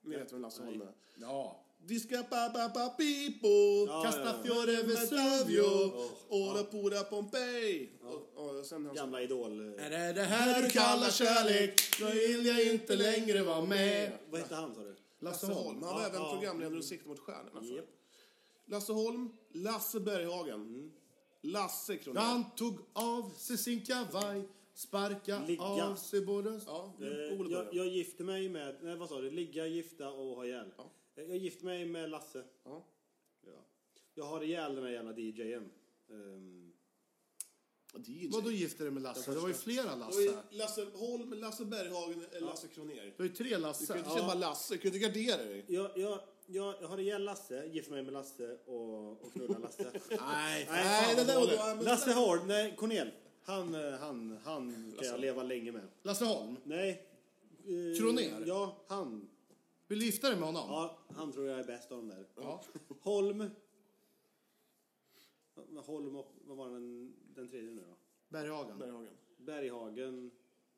Speaker 6: Ni vet vem Lasse Holm är.
Speaker 1: Ja.
Speaker 6: Disca pa pa pa pipo,
Speaker 4: Ja, ja, ja.
Speaker 6: casta fiore Vesuvio, ora pura Pompeji. Och, och sen han
Speaker 4: Gamla idol... eh,
Speaker 1: Är det det här du kallar kärlek? Då vill jag inte längre vara med.
Speaker 4: Vad hette han sa du?
Speaker 1: Lasse
Speaker 6: Lasse Holm. Mm.
Speaker 1: Holm.
Speaker 6: Han var
Speaker 4: Ja,
Speaker 6: även
Speaker 4: ja.
Speaker 6: programledare och Sikte mot stjärnorna förut.
Speaker 4: Japp.
Speaker 6: Lasse Holm, Mm. Lasse Berghagen. Lasse Kronér.
Speaker 1: Han tog av sig sin kavaj Sparka
Speaker 4: Ligga.
Speaker 1: av sig både...
Speaker 6: Ja,
Speaker 4: Eh,
Speaker 6: Mm, Ole
Speaker 4: jag,
Speaker 6: börjar.
Speaker 4: jag gifte mig med, nej vad sa du, ligga, gifta och ha ihjäl.
Speaker 6: Ja.
Speaker 4: Eh, Jag gifte mig med Lasse.
Speaker 6: Ja.
Speaker 4: Ja. Jag har ihjäl den här jävla DJn. Ehm,
Speaker 6: DJ.
Speaker 1: Vadå gifte dig med Lasse? Det var ju flera
Speaker 6: Och i
Speaker 1: Lasse.
Speaker 6: Lasse Holm, Lasse Berghagen, eller Lasse Kronér.
Speaker 1: Det var ju tre
Speaker 6: Du kan
Speaker 1: Lasse.
Speaker 6: ju inte säga bara
Speaker 1: Ja.
Speaker 6: Lasse, du kan ju inte gardera dig.
Speaker 4: jag, jag, jag, jag har ihjäl Lasse, gifte mig med Lasse och, och knullar Lasse.
Speaker 6: (laughs)
Speaker 1: Nej,
Speaker 4: Nej,
Speaker 6: Nej, det
Speaker 4: fan,
Speaker 6: där var då... men-
Speaker 4: Lasse Holm, nej, Cornel. Han, eh, han, han kan jag leva länge med.
Speaker 1: Lasse Holm.
Speaker 4: Nej. eh,
Speaker 1: Kronér?
Speaker 4: Ja, han.
Speaker 1: Vill du gifta dig med honom?
Speaker 4: Ja, han tror jag är bäst av dem där.
Speaker 1: Ja.
Speaker 4: Holm. Holm och, vad var den, den tredje nu då?
Speaker 1: Berghagen.
Speaker 6: Berghagen.
Speaker 4: Berghagen.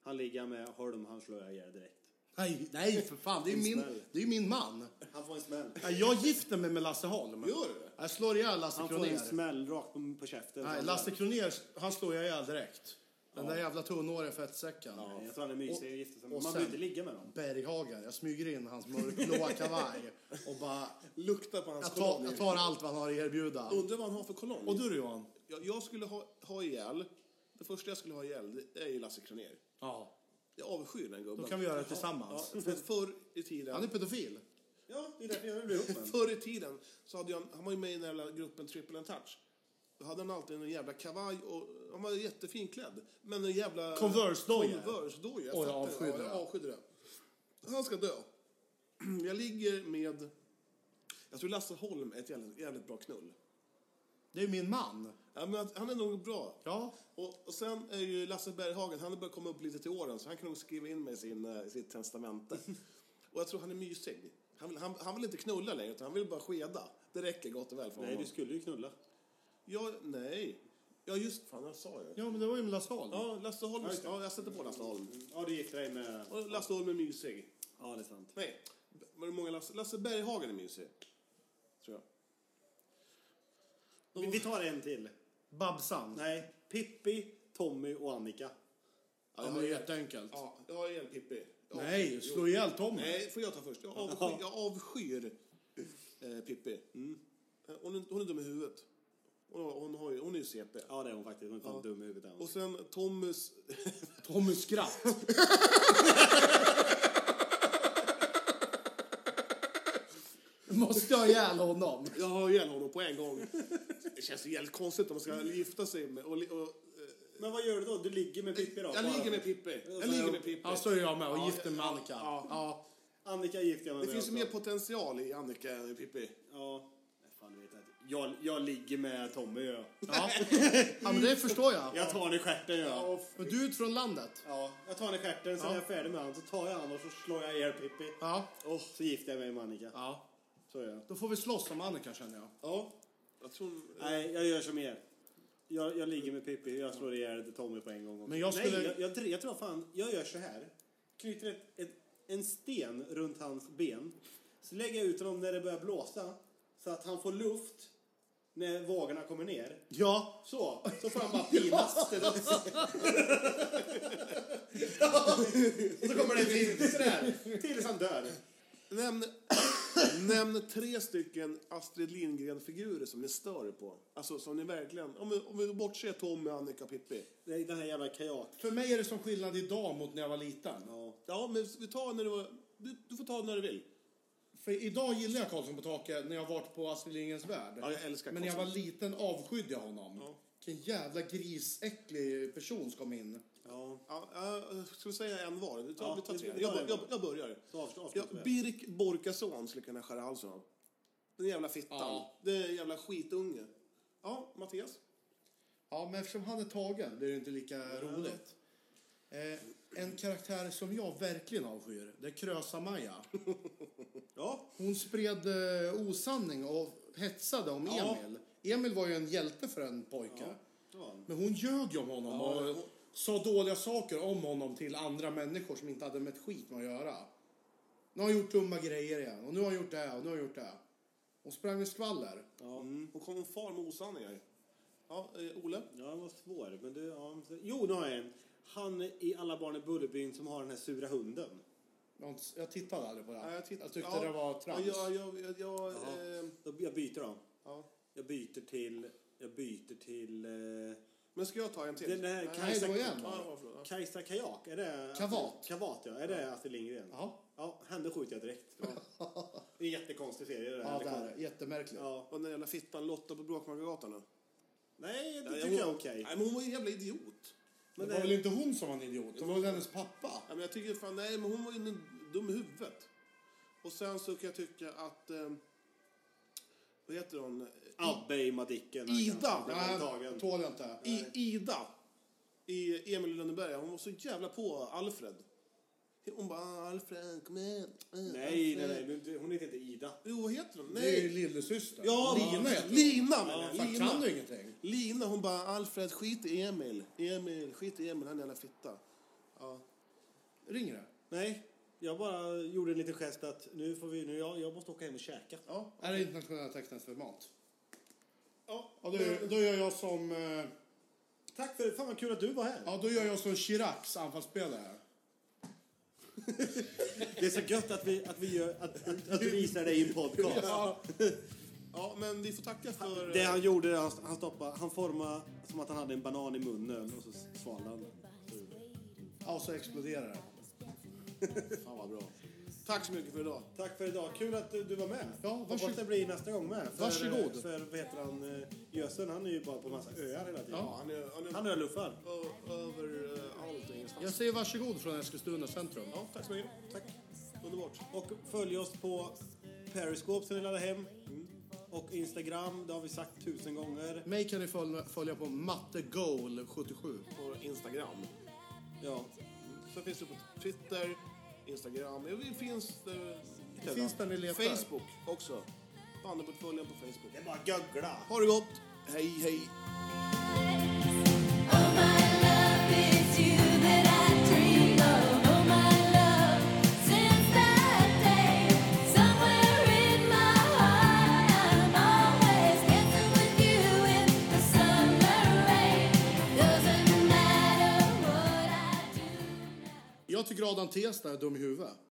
Speaker 4: Han ligger med Holm, han slår jag ihjäl direkt.
Speaker 1: Nej, nej för fan. Det är ju min,
Speaker 4: smäll.
Speaker 1: det är ju min man.
Speaker 4: Han får en smäll.
Speaker 1: Nej, Jag gifter mig med Lasse Holm.
Speaker 6: Gör du det?
Speaker 1: Jag slår ihjäl Lasse
Speaker 4: Han får en
Speaker 1: Kronér.
Speaker 4: smäll rakt på, på käften.
Speaker 1: Nej, Lasse Kronér, han slår jag ihjäl direkt. Den där jävla tunnhåriga fettsäcken.
Speaker 4: Nej, Jag tror han är mysig och gifter sig. Man
Speaker 1: och
Speaker 4: behöver
Speaker 1: sen-
Speaker 4: inte ligga med dem.
Speaker 1: Berghagen. Jag smyger in hans mörkblåa
Speaker 6: (laughs)
Speaker 1: kavaj och bara...
Speaker 6: Lukta på hans
Speaker 1: Jag tar,
Speaker 6: kolonn.
Speaker 1: jag tar allt vad han har att erbjuda.
Speaker 6: Undrar vad han har för kolonn.
Speaker 1: Och du då Johan?
Speaker 6: Jag, jag skulle ha, ha ihjäl... Det första jag skulle ha ihjäl, det är ju Lasse Kronér.
Speaker 1: Ja.
Speaker 6: Jag avskyr den gubben.
Speaker 1: Då kan vi göra det tillsammans.
Speaker 6: Ja, för förr i tiden...
Speaker 1: Han är pedofil.
Speaker 4: Ja, det är därför jag vill bli ihop med honom.
Speaker 6: Förr i tiden så hade jag, han var ju med i den jävla gruppen Triple and Touch. Då hade han alltid en jävla kavaj och han var jättefin klädd. Men en jävla...
Speaker 1: Converse-doja.
Speaker 6: Converse-doja.
Speaker 1: Oj, jag
Speaker 6: fattar.
Speaker 1: avskyr
Speaker 6: Ja,
Speaker 1: det.
Speaker 6: jag avskyr det. Han ska dö. (clears throat) Jag ligger med... Jag tror Lasse Holm är ett jävligt, jävligt bra knull.
Speaker 1: Det är min man.
Speaker 6: Ja, men att- han är nog bra.
Speaker 1: Ja.
Speaker 6: Och, och sen är ju Lasse Berghagen, han har börjat komma upp lite till åren så han kan nog skriva in mig i sin, eh, i sitt (laughs) testamente. och jag tror han är mysig. Han vill, han, han vill inte knulla längre utan han vill bara skeda. Det räcker gott och väl för
Speaker 4: Nej,
Speaker 6: honom.
Speaker 4: du skulle ju knulla.
Speaker 6: Ja, nej. Ja, just fan, jag sa ju.
Speaker 1: Ja, men det var ju med Lasse Holm.
Speaker 6: Ja, Mm. Lasse Holm. Ja, jag sätter på Lasse Holm.
Speaker 4: Ja, du gifter dig med...
Speaker 6: Och Lasse Holm är mysig.
Speaker 4: Ja, det är sant.
Speaker 6: Nej, B- var det många Lasse? Lasse Berghagen är mysig. Tror jag.
Speaker 4: Vi, vi tar en till.
Speaker 1: Babsan.
Speaker 4: Nej, Pippi, Tommy och Annika.
Speaker 1: Ja, men det är jätteenkelt.
Speaker 6: Ja, jag har en Pippi. Ja.
Speaker 1: Nej, slå ihjäl Tommy.
Speaker 6: Nej, får jag ta först? Jag avskyr, jag avskyr eh, Pippi. Eh, Hon, är- hon är dum i huvudet. Hon, har- hon, har ju, hon är ju CP.
Speaker 4: Ja, det är hon faktiskt. Hon är fan dum i huvudet. är hon.
Speaker 6: Och sen Thomas...
Speaker 1: Tommy
Speaker 6: (laughs)
Speaker 1: skratt. Måste jag ha ihjäl honom?
Speaker 6: Jag har ihjäl honom på en gång. Det känns ju jävligt konstigt om man ska gifta sig med... Och, li- och,
Speaker 4: Men vad gör du då? Du ligger med Pippi då?
Speaker 6: jag
Speaker 4: Bara
Speaker 6: ligger med
Speaker 4: för-
Speaker 6: Pippi. Jag ligger med Pippi.
Speaker 1: Ja, så är jag med. Och gifter mig med Annika.
Speaker 6: Ja.
Speaker 1: Ja.
Speaker 4: Annika gifter jag mig
Speaker 6: det
Speaker 4: med
Speaker 6: finns ju
Speaker 4: också.
Speaker 6: mer potential i Annika än i Pippi.
Speaker 4: Ja. Nej, Fan, du vet att jag, jag ligger med Tommy. Jag,
Speaker 1: Ja. ja, men det förstår jag.
Speaker 4: jag tar henne i stjärten. Jag.
Speaker 1: Men du är ju från landet.
Speaker 4: Ja, jag tar henne i stjärten, sen
Speaker 1: Ja.
Speaker 4: är jag färdig med honom. Så tar jag honom och så slår jag ihjäl Pippi.
Speaker 1: Ja.
Speaker 4: Och så gifter jag mig med Annika.
Speaker 1: ja.
Speaker 4: Så gör jag.
Speaker 1: Då får vi slåss om Annika känner jag.
Speaker 6: Ja. Jag tror...
Speaker 4: Nej, jag gör som er. Jag, jag ligger med Pippi, jag slår ihjäl Tommy på en gång. också.
Speaker 1: Men jag skulle-
Speaker 4: Nej, jag, jag, dr- jag tror fan, jag gör så här. Knyter ett, ett, en sten runt hans ben. Så lägger jag ut honom när det börjar blåsa. Så att han får luft när vågorna kommer ner.
Speaker 1: Ja.
Speaker 4: Så, så får han
Speaker 1: (laughs)
Speaker 4: bara pinas. till döds. Och så kommer det ett vind sådär. Tills han dör.
Speaker 6: Liksom Nämn, (coughs) nämn tre stycken Astrid Lindgren-figurer som ni stör er på. Alltså som ni verkligen... Om vi, om vi bortser Tommy, Annika och Pippi.
Speaker 4: Det är Den här jävla kajak.
Speaker 1: För mig är det som skillnad idag mot när jag var liten.
Speaker 6: Ja, men vi tar när du var... Du, du får ta när du vill.
Speaker 1: För idag gillar jag Karlsson på taket när jag varit på Astrid Lindgrens Värld.
Speaker 6: Ja, jag älskar
Speaker 1: Men när jag var
Speaker 6: Karlsson.
Speaker 1: liten avskydde jag honom.
Speaker 6: Ja.
Speaker 1: Vilken jävla grisäcklig person som kom in.
Speaker 4: Ja.
Speaker 6: Ja, jag skulle säga en var. Vi tar,
Speaker 4: Ja,
Speaker 6: vi tar
Speaker 4: vi-
Speaker 6: tre.
Speaker 4: vi tar
Speaker 6: Jag,
Speaker 4: en.
Speaker 6: jag, jag börjar.
Speaker 4: Så avslut-
Speaker 6: Ja,
Speaker 4: avslutar vi.
Speaker 6: Birk Borkason skulle kunna skära halsen av. Den jävla fittan.
Speaker 1: Ja.
Speaker 6: Den jävla skitunge. Ja, Mattias?
Speaker 1: Ja, men eftersom han är tagen blir det inte lika roligt. Eh, en karaktär som jag verkligen avskyr, det är
Speaker 6: (laughs)
Speaker 1: Krösa-Maja.
Speaker 4: Ja.
Speaker 1: Hon spred eh, osanning och hetsade om
Speaker 6: Ja.
Speaker 1: Emil. Emil var ju en hjälte för en pojke. Men hon ljög ju om honom
Speaker 6: Ja,
Speaker 1: och
Speaker 6: hon-
Speaker 1: sa dåliga saker om honom till andra människor som inte hade med ett skit med att göra. Nu har han gjort dumma grejer igen och nu har han gjort det här och nu har han gjort det. här. Hon sprang med skvaller.
Speaker 6: Ja. Hon kom far med osanningar. Ja, eh, Ole?
Speaker 4: Ja, den var svår. Men du, ja, så- jo, nu har jag en. Han i Alla barn i Bullerbyn som har den här sura hunden.
Speaker 1: Jag har inte- Jag tittade aldrig på det.
Speaker 6: Ja,
Speaker 1: Jag,
Speaker 6: titt-
Speaker 1: tyckte
Speaker 6: ja.
Speaker 1: det var trams.
Speaker 6: Ja, jag, jag, jag, eh,
Speaker 4: Då, jag byter då.
Speaker 6: ja.
Speaker 4: Jag byter till... Jag byter till... Eh,
Speaker 6: Men ska jag ta en till?
Speaker 4: Den här
Speaker 6: Nej,
Speaker 1: Nej, det
Speaker 4: Kajsa,
Speaker 1: var igen.
Speaker 6: ja, det var förlåt.
Speaker 4: Kajsa Kajak, är det...
Speaker 1: Kavat.
Speaker 4: Kavat, ja. Är det Astrid Lindgren?
Speaker 1: Ja.
Speaker 4: Ja, henne skjuter jag direkt. (laughs) Det är en jättekonstig serie det där.
Speaker 1: Ja, det är det. Jättemärkligt.
Speaker 4: Ja.
Speaker 6: Och den där jävla fittan Lotta på Bråkmakargatan då?
Speaker 4: Nej, det
Speaker 6: Ja,
Speaker 4: tycker
Speaker 6: hon-
Speaker 4: jag är okej.
Speaker 6: Nej, men hon var ju en jävla idiot.
Speaker 1: Det
Speaker 4: Men
Speaker 1: var
Speaker 4: det-
Speaker 1: väl inte hon som var en idiot? Det var väl hennes pappa?
Speaker 6: Ja, men jag tycker fan, nej, men hon var ju en dum i huvudet. Och sen så kan jag tycka att... Eh, vad heter hon?
Speaker 4: Abbe i Madicken.
Speaker 6: Ida!
Speaker 4: Den var tagen.
Speaker 1: Nej, tål jag inte.
Speaker 6: I, Ida i Emil i Lönneberga. Hon var så jävla på Alfred. Hon bara Alfred, kom igen.
Speaker 4: Nej, nej, nej. nu- Hon heter inte Ida.
Speaker 6: Jo, vad heter hon?
Speaker 1: Det är ju
Speaker 6: Nej.
Speaker 1: lillasyster.
Speaker 6: Ja,
Speaker 1: Lina heter hon.
Speaker 6: Lina, menar jag.
Speaker 1: Fan,
Speaker 6: Lina.
Speaker 1: kan du ingenting?
Speaker 6: Lina, hon bara Alfred, skit i Emil. Emil, skit i Emil, han är en jävla fitta. Ja.
Speaker 1: Ringer det?
Speaker 4: Nej, jag bara gjorde en liten gest att nu får vi... Nu, jag, jag måste åka hem och käka.
Speaker 6: Ja.
Speaker 1: Är det internationella tecknet för mat?
Speaker 6: ja.
Speaker 1: Ja, då, gör- då gör jag som... eh,
Speaker 4: Tack för det. Fan vad kul att du var här.
Speaker 1: Ja, då gör jag som Chiracs anfallsspelare.
Speaker 4: Det är så gött att vi, att vi, gör, att, att, att du visar dig i en podcast.
Speaker 6: ja, men vi får tacka för... eh,
Speaker 4: Det han gjorde, han, han stoppade, han formade som att han hade en banan i munnen och så svalde han den.
Speaker 1: Ja, och så exploderar det.
Speaker 6: (laughs) Fan vad bra. Tack så mycket för idag.
Speaker 4: Tack för idag, kul att du, du var med.
Speaker 1: Ja,
Speaker 4: Hoppas
Speaker 1: varsågod.
Speaker 4: det blir nästa gång med. För,
Speaker 1: Varsågod.
Speaker 4: För vad heter han, eh, Gösen, han är ju bara på en massa öar hela tiden.
Speaker 6: Ja, han är, han är
Speaker 4: Han öluffar.
Speaker 6: ö- över eh, allt engelska.
Speaker 1: Jag säger varsågod från Eskilstuna centrum.
Speaker 6: Ja, tack så mycket. Tack. Underbart.
Speaker 4: Och följ oss på Periscope som ni laddar hem.
Speaker 6: Mm.
Speaker 4: Och Instagram, det har vi sagt tusen gånger.
Speaker 1: Mig kan ni följa, följa på mattegoal77.
Speaker 6: På Instagram.
Speaker 4: Ja.
Speaker 6: Sen finns det på Twitter, Instagram. Ja, vi finns... Eh,
Speaker 1: Finns där ni letar.
Speaker 6: Facebook också. Bandyportföljen på Facebook.
Speaker 4: Det är bara göggla.
Speaker 6: Ha det gott. Hej, hej.
Speaker 8: Oh, my love, it's you that I dream of. Oh, my love, since that day, somewhere in my heart, I'm always dancing with you in the summer rain. Doesn't matter what I do.
Speaker 1: Jag tycker Adam Testa är dum i huvudet.